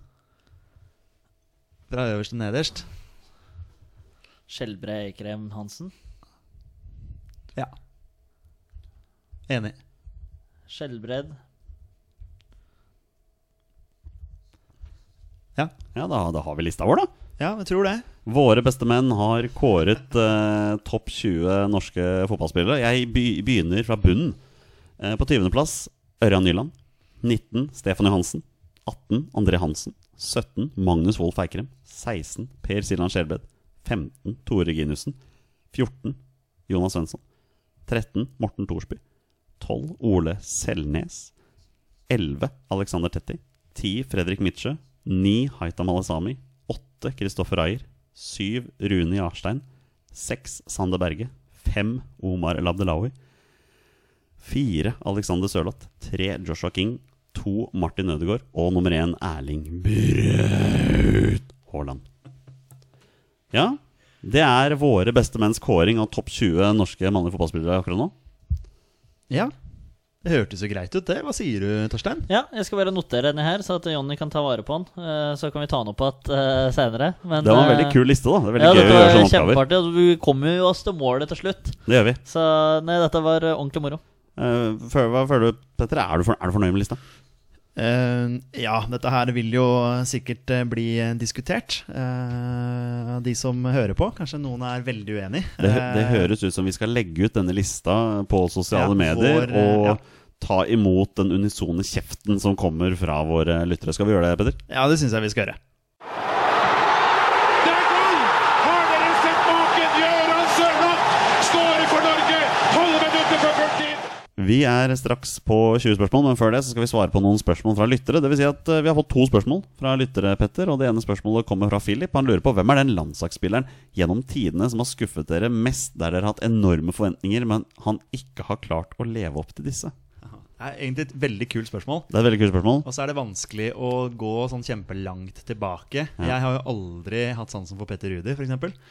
C: Fra øverst til nederst.
A: Skjelbre Eikrem Hansen.
C: Ja. Enig.
A: Skjelbred.
C: Ja,
B: Ja, da, da har vi lista vår, da.
C: ja jeg tror det.
B: Våre beste menn har kåret eh, topp 20 norske fotballspillere. Jeg by begynner fra bunnen. Eh, på 20.-plass Ørjan Nyland. 19. Stefan Johansen. 18. André Hansen. 17. Magnus Wolff Eikrem. 16. Per Siljan Skjelbred. 15. Tore Reginussen. 14. Jonas Svensson. 13. Morten Thorsby. 12. Ole Selnes. 11. Alexander Tetti. 10. Fredrik Mitsjø. 9. Haitam Alesami. 8. Kristoffer Ayer. 7. Rune Jarstein. 6. Sander Berge. 5. Omar Labdelawi. 4. Alexander Sørloth. 3. Joshua King. 2. Martin Ødegaard. Og nummer 1. Erling Braut Haaland. Ja, det er våre beste menns kåring av topp 20 norske mannlige fotballspillere akkurat nå.
C: Ja. Det hørtes jo greit ut, det. Hva sier du, Torstein?
A: Ja, jeg skal bare notere denne her, så at Jonny kan ta vare på den. Eh, Så kan vi ta den opp igjen eh, senere. Men,
B: Det var en
A: eh,
B: veldig kul liste, da. Det er
A: Ja,
B: veldig gøy å gjøre
A: dette var
B: sånne oppgaver.
A: kjempeartig. og Vi kom jo oss til målet til slutt.
B: Det gjør vi.
A: Så nei, dette var eh, ordentlig moro.
B: Eh, fø- hva føler du, Petter? Er du, for, er du fornøyd med lista?
C: Eh, ja, dette her vil jo sikkert eh, bli eh, diskutert. Eh, de som hører på. Kanskje noen er veldig uenig.
B: Det, hø- det
C: Eh,
B: høres ut som vi skal legge ut denne lista på sosiale
C: Ja,
B: medier
C: vår, eh,
B: og
C: ja.
B: ta imot den unisone kjeften som kommer fra våre lyttere. Skal vi gjøre det, Petter?
C: Eh, Ja, det syns jeg vi skal gjøre.
D: Det er gull! Har dere sett maken? Gøran Sørloth skårer for Norge! 12 minutter før fulltid!
B: Vi er straks på 20 spørsmål, men før det så skal vi svare på noen spørsmål fra lyttere. Det vil si at eh, vi har fått to spørsmål fra lyttere, Petter. Og det ene spørsmålet kommer fra Philip. Han lurer på hvem er den landslagsspilleren gjennom tidene som har skuffet dere mest, der dere har hatt enorme forventninger, men han ikke har klart å leve opp til disse?
C: Det er egentlig et veldig kult spørsmål.
B: Det er et veldig kult spørsmål.
C: Og så er det vanskelig å gå sånn kjempelangt tilbake. Jeg har jo aldri hatt sansen for Petter Rudi, f.eks.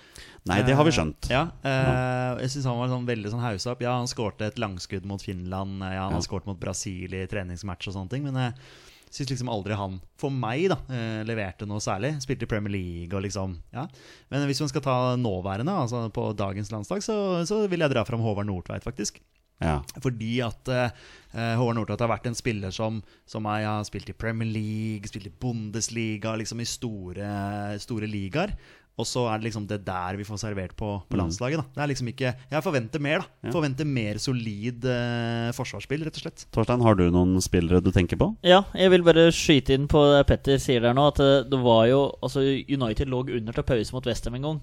B: Nei, det har vi skjønt.
C: Ja, eh, jeg syns han var sånn veldig sånn hausa opp. Ja, han skårte et langskudd mot Finland. eh, Ja, han
B: Ja.
C: har skåret mot Brasil i treningsmatch og sånne ting. Men jeg syns liksom aldri han, for meg, da, eh, leverte noe særlig. Spilte i Premier League og liksom Ja. Men hvis man skal ta nåværende, altså på dagens landslag, så, så vil jeg dra fram Håvard Nordtveit, faktisk.
B: Ja.
C: Fordi at eh, eh, Håvard Nordtveit har vært en spiller som, som er, har spilt i Premier League, spilt i Bundesliga, liksom i store, store ligaer. Og så er det liksom det der vi får servert på,
B: Mm.
C: på landslaget. da Det er liksom ikke Jeg forventer mer, da. Forventer mer solid eh, forsvarsspill, rett og slett.
B: Torstein, har du noen spillere du tenker på?
A: Ja, jeg vil bare skyte inn på det Petter sier der nå, at eh, det var jo Altså, United lå under til pause mot Westham en gang,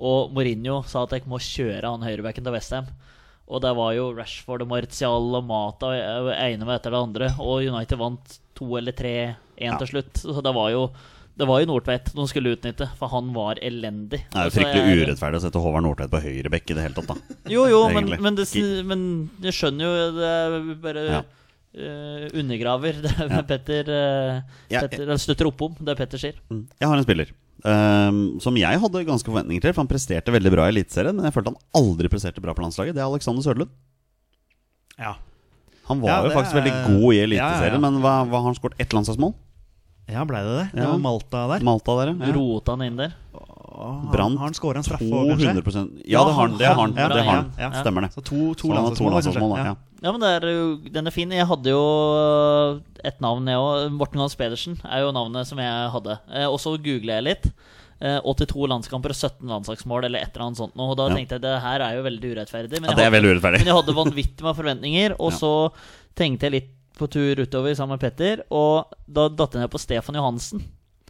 A: og Mourinho sa at jeg må kjøre han høyrebacken til Westham. Og der var jo Rashford og Martial og Mata og jeg- jeg ene med etter det andre, og United vant to eller tre, én til slutt. Så det var jo det var jo Nordtveit de skulle utnytte, for han var elendig.
B: Det er jo
A: Så
B: fryktelig
A: jeg-
B: urettferdig å sette Håvard Nordtveit på høyre bekk i det hele tatt, da.
A: Jo, jo, men,
B: Egentlig.
A: men, det, sn- men jeg skjønner jo Det er bare
B: Ja.
A: eh, undergraver det
B: Ja.
A: Petter, eh,
B: Ja,
A: Petter eller støtter opp om det Petter sier.
B: Mm. Jeg har en spiller ehm, som jeg hadde ganske forventninger til, for han presterte veldig bra i Eliteserien, men jeg følte han aldri presterte bra på landslaget. Det er Alexander Sørlund.
C: Ja.
B: Han var
C: Ja,
B: jo
C: det
B: faktisk
C: er-
B: veldig god i
C: Ja, ja,
B: Eliteserien,
C: ja.
B: men hva, hva har han skåret ett landslagsmål?
C: Ja, blei det det? Det
B: Ja.
C: var Malta der.
B: Malta der, ja.
A: Rota han inn der.
C: Åh,
B: Brandt
C: Har han skåra en straffe òg, kanskje?
B: 200 Ja, det har han. Det har han.
C: Ja,
B: Det har han.
C: ja, ja.
B: Stemmer det.
C: Så to, to
B: Så han har to
C: landslagsmål,
B: landslagsmål, da.
C: kanskje.
B: Ja.
A: Ja, men det er jo, den er fin. Jeg hadde jo øh, et navn, jeg òg. Morten Gans Pedersen er jo navnet som jeg hadde. Eh, og så googla jeg litt. Eh, 82 landskamper og 17 landslagsmål, eller et eller annet sånt. nå. Og da
B: Ja.
A: tenkte jeg det her er jo veldig urettferdig. Men
B: Ja,
A: jeg
B: det er
A: hadde-
B: veldig urettferdig.
A: Men jeg hadde vanvittig med forventninger, og
B: Ja.
A: så tenkte jeg litt på tur utover sammen med Petter, og da datt jeg ned på Stefan Johansen.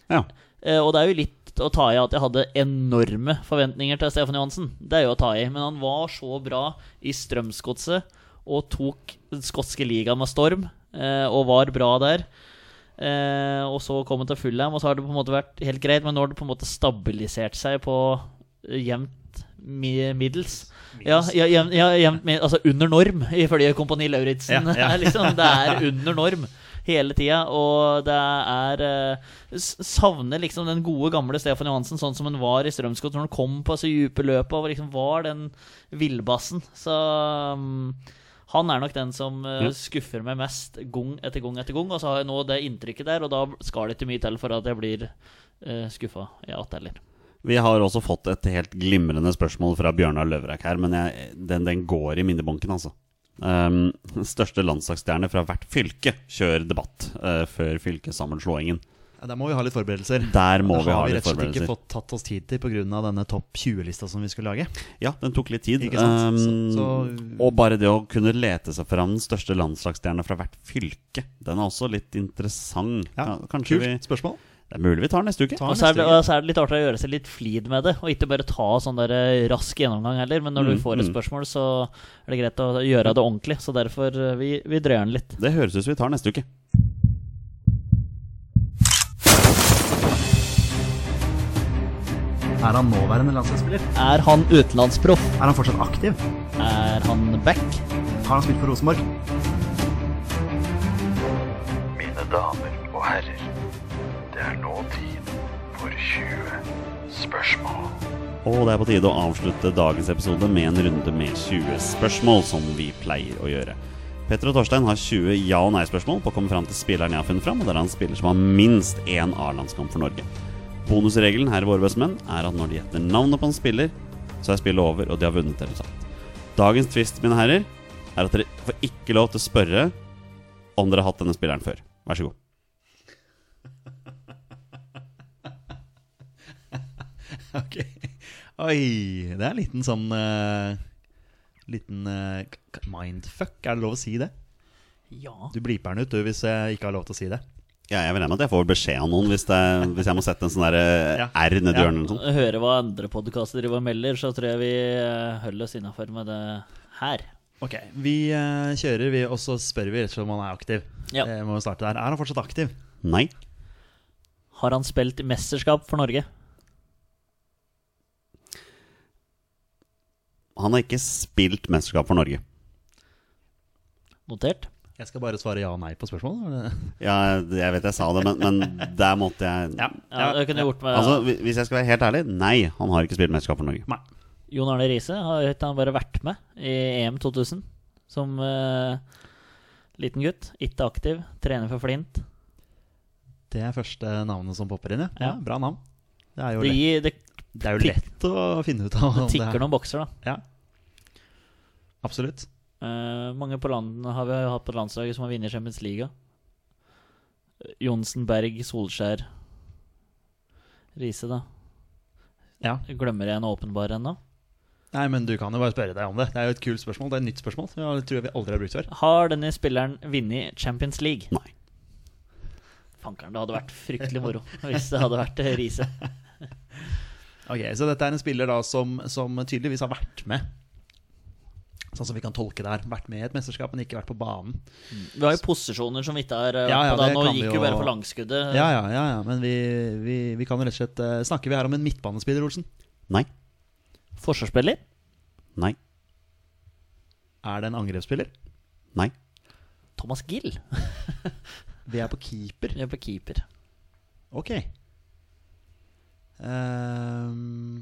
B: Ja.
A: Eh, og det er jo litt å ta i at jeg hadde enorme forventninger til Stefan Johansen. Det er jo å ta i, men han var så bra i Strømsgodset og tok den skotske ligaen med storm, eh, og var bra der. Eh, og så kom han til Fulham, og så har det på en måte vært helt greit, men nå har det på en måte stabilisert seg på eh, jevnt mi- middels. Ja, ja, jevnt, ja, jevnt mi- altså under norm, ifølge Kompani Lauritzen.
C: Ja, ja.
A: liksom, det er under norm hele tida, og det er eh, s- Savner liksom den gode, gamle Stefan Johansen sånn som han var i Strømsgodt, når han kom på så dype løpet og liksom var den villbassen. Så mm, han er nok den som eh, skuffer meg mest gang etter gang etter gang. Og så har jeg nå det inntrykket der, og da skal det ikke mye til for at jeg blir uh, skuffa. Ja, at eller.
B: Vi har også fått et helt glimrende spørsmål fra Bjørnar Løvrak her, men jeg, den, den går i minnebunken, altså. Um, største landslagsstjerne fra hvert fylke kjører debatt eh, før fylkessammenslåingen.
C: Ja, der må vi ha litt forberedelser.
B: Der må
C: Det
B: vi ha
C: har vi
B: litt
C: rett og slett ikke
B: forberedelser.
C: fått tatt oss tid til pga. denne topp 20-lista som vi skulle lage.
B: Ja, den tok litt tid.
C: Ikke
B: Um,
C: sant? Så- så-
B: og bare det å kunne lete seg fram den største landslagsstjerna fra hvert fylke, den er også litt interessant.
C: Ja,
B: kanskje
C: Kult spørsmål.
B: vi Det er mulig vi tar den neste uke.
C: Ta
A: Og
C: neste
A: så er, det,
C: uke.
A: og så er det litt artig å gjøre seg litt flid med det, og ikke bare ta sånn der eh, rask gjennomgang heller. Men når
B: Mm,
A: du får et
B: mm.
A: spørsmål, så er det greit å gjøre det ordentlig. Så derfor eh, vi, vi drøyer den litt.
B: Det høres ut som vi tar neste uke.
C: Er han nåværende landslagsspiller?
A: Er han utenlandsproff?
C: Er han fortsatt aktiv?
A: Er han back?
C: Har han spilt for Rosenborg?
E: Mine damer og herrer, det er nå tid for 20 spørsmål.
B: Og det er på tide å avslutte dagens episode med en runde med 20 spørsmål, som vi pleier å gjøre. Petter og Torstein har 20 ja- og nei-spørsmål på å komme fram til spilleren jeg har funnet fram, og det er en spiller som har minst én A-landskamp for Norge. Bonusregelen her i Våre bestemenn er at når de gjetter navnet på en spiller, så er spillet over, og de har vunnet eller tapt. Dagens twist, mine herrer, er at dere får ikke lov til å spørre om dere har hatt denne spilleren før. Vær så god.
C: Ok. Oi, det er en liten sånn eh, Liten eh, k- k- mindfuck, er det lov å si det?
A: Ja.
C: Du bliper den ut du, hvis jeg ikke har lov til å si det.
B: Ja, jeg vil regne med at jeg får beskjed av noen hvis, det, hvis jeg må sette en sånn der eh,
C: Ja.
B: R nedi
C: Ja.
B: hjørnet eller noe sånt.
A: Høre hva andre podkaster driver og melder, så tror jeg vi eh, holder oss innafor med det her.
C: Ok, Vi eh, kjører, vi, og så spør vi rett og slett om han er aktiv.
A: Ja.
C: Eh, må jo starte der. Er han fortsatt aktiv?
B: Nei.
A: Har han spilt i mesterskap for Norge?
B: Han har ikke spilt mesterskap for Norge.
A: Notert.
C: Jeg skal bare svare ja og nei på spørsmålet. var det-
B: Ja, jeg vet jeg sa det, men, men der måtte jeg
A: Ja, det kunne jeg gjort med
B: Altså, hvi- Hvis jeg skal være helt ærlig, nei, han har ikke spilt mesterskap for Norge.
C: Nei.
A: Jon Arne Riise. Har ikke han bare vært med i EM 2000 som eh, liten gutt? Ikke aktiv. Trener for Flint.
C: Det er første navnet som popper inn, ja. ja
A: Ja.
C: bra navn. Det er jo,
A: Det,
C: lett,
A: gir, det,
C: det er jo
A: tikk-
C: lett å finne ut av.
A: det
C: om det
A: tikker
C: er-
A: noen bokser, da.
C: Ja. Absolutt.
A: Eh, mange på landene har vi hatt på landslaget som har vunnet Champions Liga. Johnsen, Berg, Solskjær Riise, da.
C: Ja.
A: Glemmer jeg en åpenbar ennå?
C: Nei, men du kan jo bare spørre deg om det. Det er jo et kult spørsmål. Det er et nytt spørsmål. som Jeg tror jeg vi aldri har brukt før.
A: Har denne spilleren vunnet Champions League?
B: Nei.
A: Fankeren, det hadde vært fryktelig moro hvis det hadde vært eh, Riise.
C: Ok, Så dette er en spiller da som, som tydeligvis har vært med. Sånn som vi kan tolke det her. Vært med i et mesterskap, men ikke vært på banen.
A: Vi har jo posisjoner som vi ikke er eh,
C: Ja, ja,
A: på da.
C: det
A: Nå
C: kan vi
A: gikk
C: jo-
A: jo bare for langskuddet.
C: Ja, ja, ja, ja. Men vi, vi, vi kan jo rett og slett eh, Snakker vi her om en midtbanespiller, Olsen?
B: Nei.
A: Forsvarsspiller?
B: Nei.
C: Er det en angrepsspiller?
B: Nei.
A: Thomas Gill.
C: Vi er på keeper.
A: Vi er på keeper.
C: Ok. Ehm,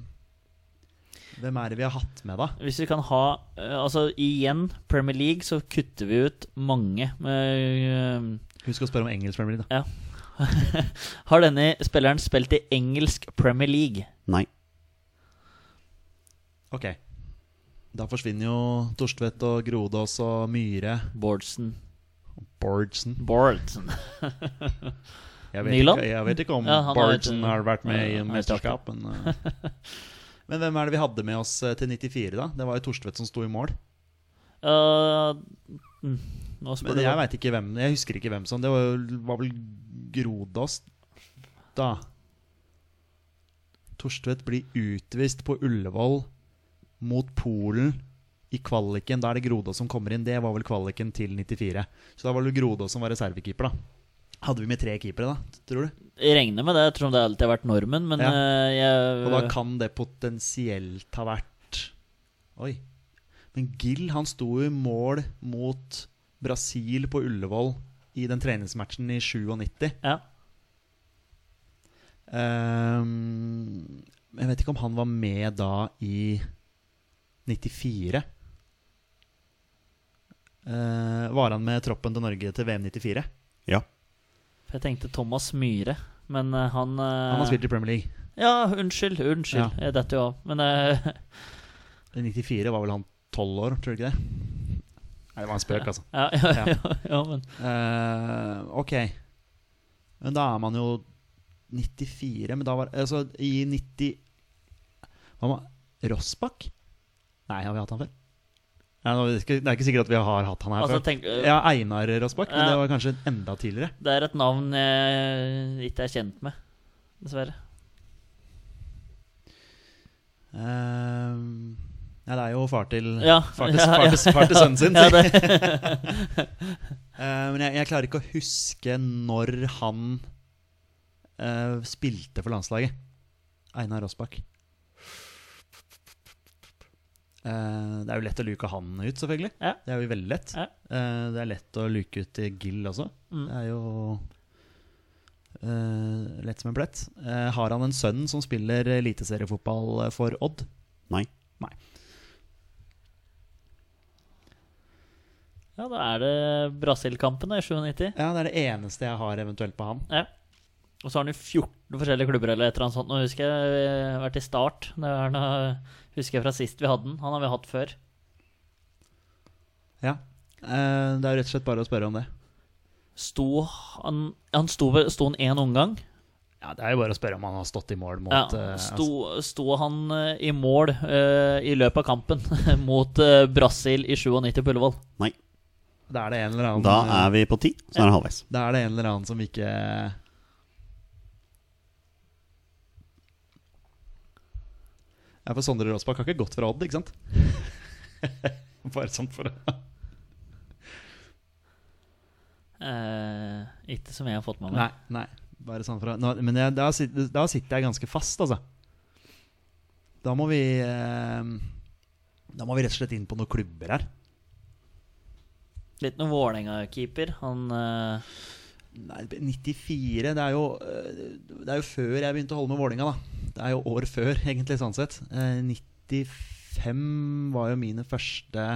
C: hvem er det vi har hatt med, da?
A: Hvis vi kan ha eh, Altså, igjen, Premier League, så kutter vi ut mange med eh,
C: Husk å spørre om engelsk Premier League, da.
A: Ja. Har denne spilleren spilt i engelsk Premier League?
B: Nei.
C: Ok. Da forsvinner jo Torstvedt og Grodås og Myhre.
A: Bårdsen.
C: Bardsen.
A: Bårdsen.
C: Jeg vet,
A: Nyland?
C: ikke, jeg vet ikke om
A: Ja, han har
C: Bardsen
A: ikke-
C: har vært med i
A: Ja, han har ikke
C: mesterskap. Men, eh. men hvem er det vi hadde med oss eh, til 94, da? Det var jo Torstvedt som sto i mål.
A: Uh, mm, nå spør
C: Men
A: du
C: jeg
A: meg.
C: vet ikke hvem Jeg husker ikke hvem som Det var, jo- var vel Grodås, da. Torstvedt blir utvist på Ullevål mot Polen i kvaliken. Da er det Grodås som kommer inn. Det var vel kvaliken til 94. Så da var det Grodås som var reservekeeper, da. Hadde vi med tre keepere, da, tror du?
A: Jeg regner med det, jeg tror det alltid har vært normen, men
C: Ja.
A: eh,
C: Og da
A: jeg
C: kan det potensielt ha vært Oi. Men Gill han sto jo i mål mot Brasil på Ullevål i den treningsmatchen i 97.
A: ja.
C: Ehm, jeg vet ikke om han var med da i 94. Eh, var han med troppen til Norge til VM 94?
B: Ja.
A: For jeg tenkte Thomas Myhre, men eh, han
C: Han har spilt i Premier League.
A: Ja, unnskyld, unnskyld.
C: Ja.
A: Jeg detter jo av. Men eh,
C: I 94 var vel han 12 år, tror du ikke det? Nei, det var en spøk, altså.
A: ja, ja,
C: Ja.
A: ja. ja, men
C: Eh, ok. Men da er man jo 94 Men da var Altså, i 90 Hva var Rossbakk? Nei, har vi hatt han før? Nei, nå- det er ikke- det er ikke sikkert at vi har hatt han her
A: Altså,
C: før.
A: tenk, eh,
C: ja, Einar Rossbakk, men
A: Ja.
C: det var kanskje enda tidligere.
A: Det er et navn jeg ikke er kjent med, dessverre.
C: Eh, Nei, det er jo far til
A: Ja,
C: Far til,
A: ja,
C: far
A: ja.
C: til, far til sønnen sin.
A: Ja,
C: sier jeg.
A: det,
C: Eh, men jeg, jeg klarer ikke å huske når han eh, spilte for landslaget. Einar Rossbakk. Eh, det er jo lett å luke han ut, selvfølgelig.
A: Ja.
C: Det er jo veldig lett.
A: Ja.
C: Eh, det er lett å luke ut Gill også.
A: Mm.
C: Det er jo eh, lett som en plett. Eh, har han en sønn som spiller eliteseriefotball for Odd?
B: Nei.
A: ja, da er det Brasil-kampen da, i 97.
C: Ja, det er det eneste jeg har eventuelt på han.
A: Ja. Og så har han jo 14 forskjellige klubber eller et eller annet sånt. Nå husker jeg vi har vært i start. Det er noe, husker jeg fra sist vi hadde den. Han har vi hatt før.
C: Ja. Eh, det er rett og slett bare å spørre om det.
A: Sto han, han sto, vel- sto han én omgang?
C: Ja, Det er jo bare å spørre om han har stått i mål mot
A: Ja,
C: eh,
A: sto, sto han eh, i mål eh, i løpet av kampen mot eh, Brasil i 97 på Ullevål?
B: Nei.
C: altså, Da er det en eller annen eh,
B: Da er vi på ti, så er det halvveis.
C: da er det en eller annen som ikke Ja, for Sondre Råsbakk har ikke gått fra Odd, ikke sant? bare sånn for å
A: Eh, ikke som jeg har fått med meg.
C: Nei. nei bare sånn for å Nå, Men jeg, da, sit- da sitter jeg ganske fast, altså. Da må vi eh, Da må vi rett og slett inn på noen klubber her.
A: Litt noe Vålerenga-keeper. Han eh,
C: Nei, 94 det er, jo, øh, det er jo før jeg begynte å holde med Vålinga da. Det er jo år før, egentlig, sånn sett. Eh, 95 var jo mine første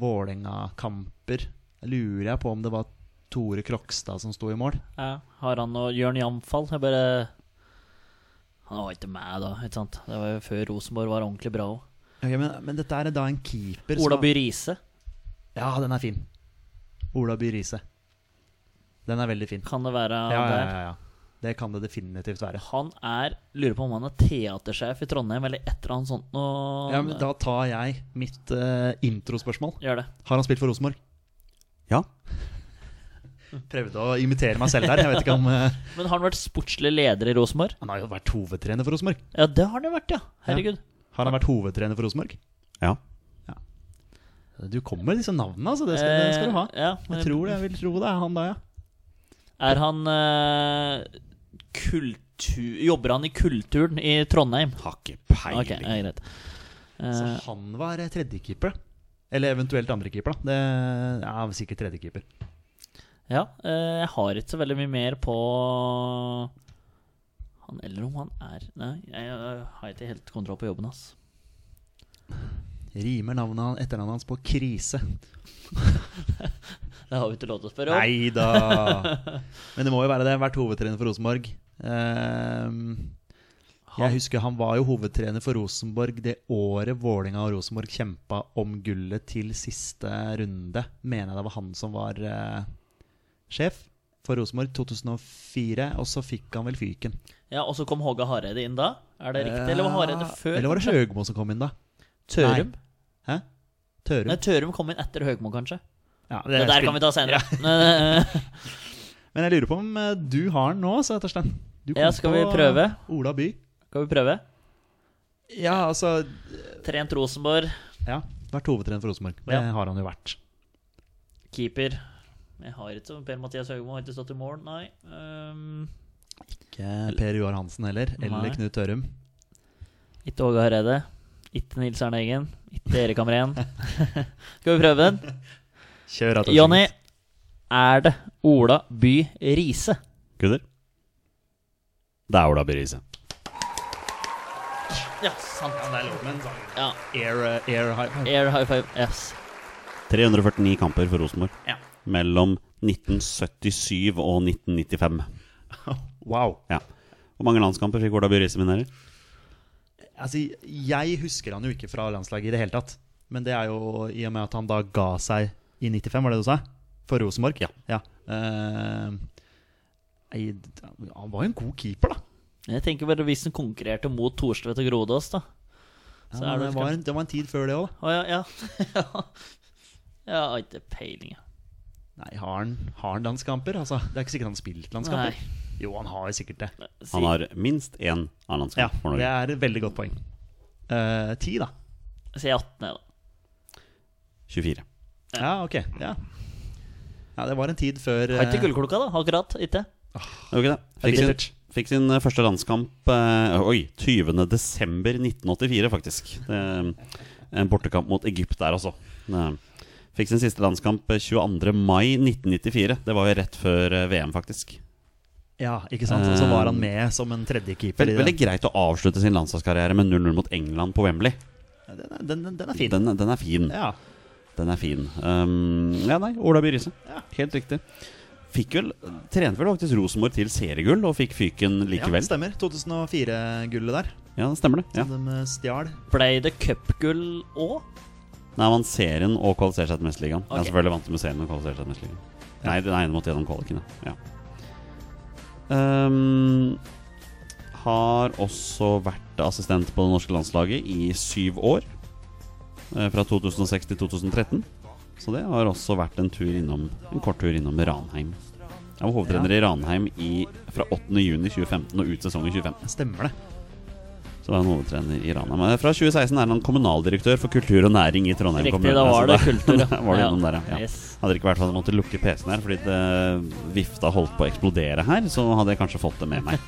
C: Vålinga-kamper. Jeg lurer jeg på om det var Tore Krokstad som sto i mål.
A: ja, Har han og Jørn Jamfall? Jeg bare Han var ikke med da, ikke sant? Det var jo før Rosenborg var ordentlig bra òg.
C: Ok, men, men dette er da en keeper
A: Ola
C: som
A: By Riise.
C: Ja, den er fin. Ola By Riise. Den er veldig fin.
A: Kan det være
C: Ja, ja,
A: han der?
C: ja, ja. Det kan det definitivt være.
A: Han er Lurer på om han er teatersjef i Trondheim, eller et eller annet sånt noe.
C: Ja, men da tar jeg mitt eh, introspørsmål.
A: Gjør det.
C: Har han spilt for Rosenborg?
B: Ja.
C: prøvde å imitere meg selv der. Jeg vet ikke om eh,
A: Men har han vært sportslig leder i Rosenborg?
C: Han har jo vært hovedtrener for Rosenborg.
A: Ja, det har han jo vært, ja. Herregud.
C: Har han vært hovedtrener for Rosenborg?
B: Ja.
C: Du kommer med disse navnene, altså. Det skal, det skal du ha.
A: Eh, ja, men-
C: Jeg tror det, jeg vil tro det er han da, ja.
A: Er han eh, kultur... Jobber han i kulturen i Trondheim?
B: Har ikke
A: Ok,
B: peiling.
C: eh,
A: ja, greit.
C: Så
A: Eh,
C: han var eh, tredjekeeper. da. Eller eventuelt andrekeeper, da. Det ja, sikkert tredjekeeper.
A: ja, eh, jeg har ikke så veldig mye mer på han eller om han er Nei, jeg eh, har ikke helt kontroll på jobben hans.
C: Rimer navnet han, etternavnet hans på krise.
A: Det har vi ikke lov til å spørre om.
C: Nei da! Men det må jo være det. Vært hovedtrener for Rosenborg. Ehm, jeg husker han var jo hovedtrener for Rosenborg det året Vålinga og Rosenborg kjempa om gullet til siste runde. Mener jeg det var han som var eh, sjef for Rosenborg 2004, og så fikk han vel fyken.
A: Ja, Og så kom Håge Hareide inn da? Er det riktig? Eller var Hareide før?
C: Eh, Eller var det Sjøgmo som kom inn, da?
A: Tørum?
C: Nei. Hæ? Tørum?
A: Nei, Tørum kom inn etter Høgmo, kanskje.
C: Ja,
A: Det der kan vi ta senere. Men, eh,
C: Men jeg lurer på om eh, du har den nå, sa Torstein. Du kom
A: Ja, skal vi
C: på
A: prøve?
C: Ola By.
A: Skal vi prøve?
C: Ja, altså
A: Trent Rosenborg,
C: Ja, vært hovedtrener for Rosenborg. Det
A: Ja.
C: har han jo vært.
A: keeper. Jeg har ikke Per-Mathias Høgmo, har ikke stått i mål, nei. Ehm,
C: Ikke Eh, Per Joar Hansen heller, eller
A: Nei.
C: Knut Tørum.
A: Ikke Åge Hareide. Ikke Nils Arne Eggen. Ikke Erik Hamren. Skal vi prøve den?
C: Kjør at
A: Jonny, er det Ola By Riise?
B: Gutter? Det er Ola Berise.
A: Ja, sant.
C: Det er lov med en sånn
A: Ja,
C: air, eh, air high.
A: Air high five. Yes.
B: 349 kamper for Rosenborg.
A: Ja.
B: Mellom 1977 og 1995.
C: Wow.
B: Ja. Hvor mange landskamper fikk Ola Berise minere?
C: Altså, jeg husker han jo ikke fra landslaget i det hele tatt. Men det er jo i og med at han da ga seg i 95, var det du sa? For Rosenborg? Ja. Eh, nei, d- han var jo en god keeper, da.
A: Jeg tenker bare hvis den konkurrerte mot Thorstvedt og Grodås, da. Så
C: Ja,
A: er
C: det,
A: det
C: var en, det var en tid før det òg, da.
A: Å ja, ja. Jeg har ikke peiling, jeg.
C: Nei, har han, har han landskamper? Altså, det er ikke sikkert han har spilt landskamper.
A: Nei.
C: Jo, han har sikkert det.
A: Si-
B: Han har minst én
C: Ja,
B: A-landskamp for
C: det
B: Norge.
C: er et veldig godt poeng. Eh, Ti, da.
A: Si 18, jeg, da.
B: 24.
C: Ja, ok. Ja. ja, det var en tid før
A: Har ikke
C: eh,
A: gullklokka, da. Akkurat. Ikke.
B: Er det ikke det? Fikk sin, fikk sin eh, første landskamp eh, Oi, 20. desember 1984, faktisk. Det, eh, en bortekamp mot Egypt der, altså. Det- Fikk sin siste landskamp eh, 22. mai 1994. Det var jo rett før eh, VM, faktisk.
C: Ja, ikke sant? Og så var han med som en tredjekeeper.
B: Vel-
C: i
B: veldig
C: den.
B: greit å avslutte sin landslagskarriere med 0-0 mot England på Wembley.
C: Den, er- den, den, den er fin.
B: Den, den er fin.
C: Ja.
B: Den er fin. Um, ja, nei, Ola By Riise. Helt riktig. Fikk vel, Trente vel faktisk Rosenborg til seriegull, og fikk fyken
C: ja,
B: likevel.
C: stemmer. 2004-gullet der.
B: Ja, stemmer det. Ja.
C: Som de eh, stjal.
A: Blei det cupgull òg?
B: Nei, vant serien og kvalifiserte seg til Mesterligaen. Ja,
A: Ok.
B: selvfølgelig vant de med serien og kvalifiserte seg til Mesterligaen. Nei, den ene måtte gjennom kvaliken, ja. ja. Ehm, har også vært assistent på det norske landslaget i syv år. eh, Fra 2006 til 2013. Så det har også vært en tur innom En kort tur innom Ranheim. Jeg var hovedtrener i Ranheim i, fra 8.6.2015 og ut sesongen 2015.
C: Stemmer det.
B: Så var han hovedtrener i Ranheim. Men Fra 2016 er han kommunaldirektør for kultur og næring i Trondheim
A: Riktig,
B: kommune.
A: da var det
B: Så
A: kultur, ja.
B: altså, da var det
A: Ja.
B: innom der, ja.
A: Yes.
B: Hadde det ikke vært for at jeg måtte lukke PC-en her fordi det eh, vifta holdt på å eksplodere her, så hadde jeg kanskje fått det med meg.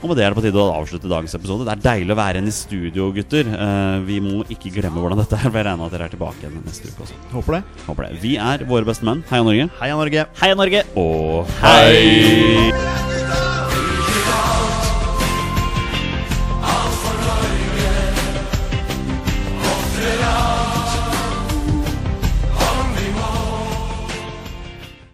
B: Og med det er det på tide å avslutte dagens episode. Det er deilig å være igjen i studio, gutter. Eh, vi må ikke glemme hvordan dette er. for Jeg regner med at dere er tilbake igjen neste uke også.
C: Håper det.
B: Håper det. Vi er våre beste menn. Heia Norge.
C: Heia Norge.
A: Heia Norge!
B: Og hei!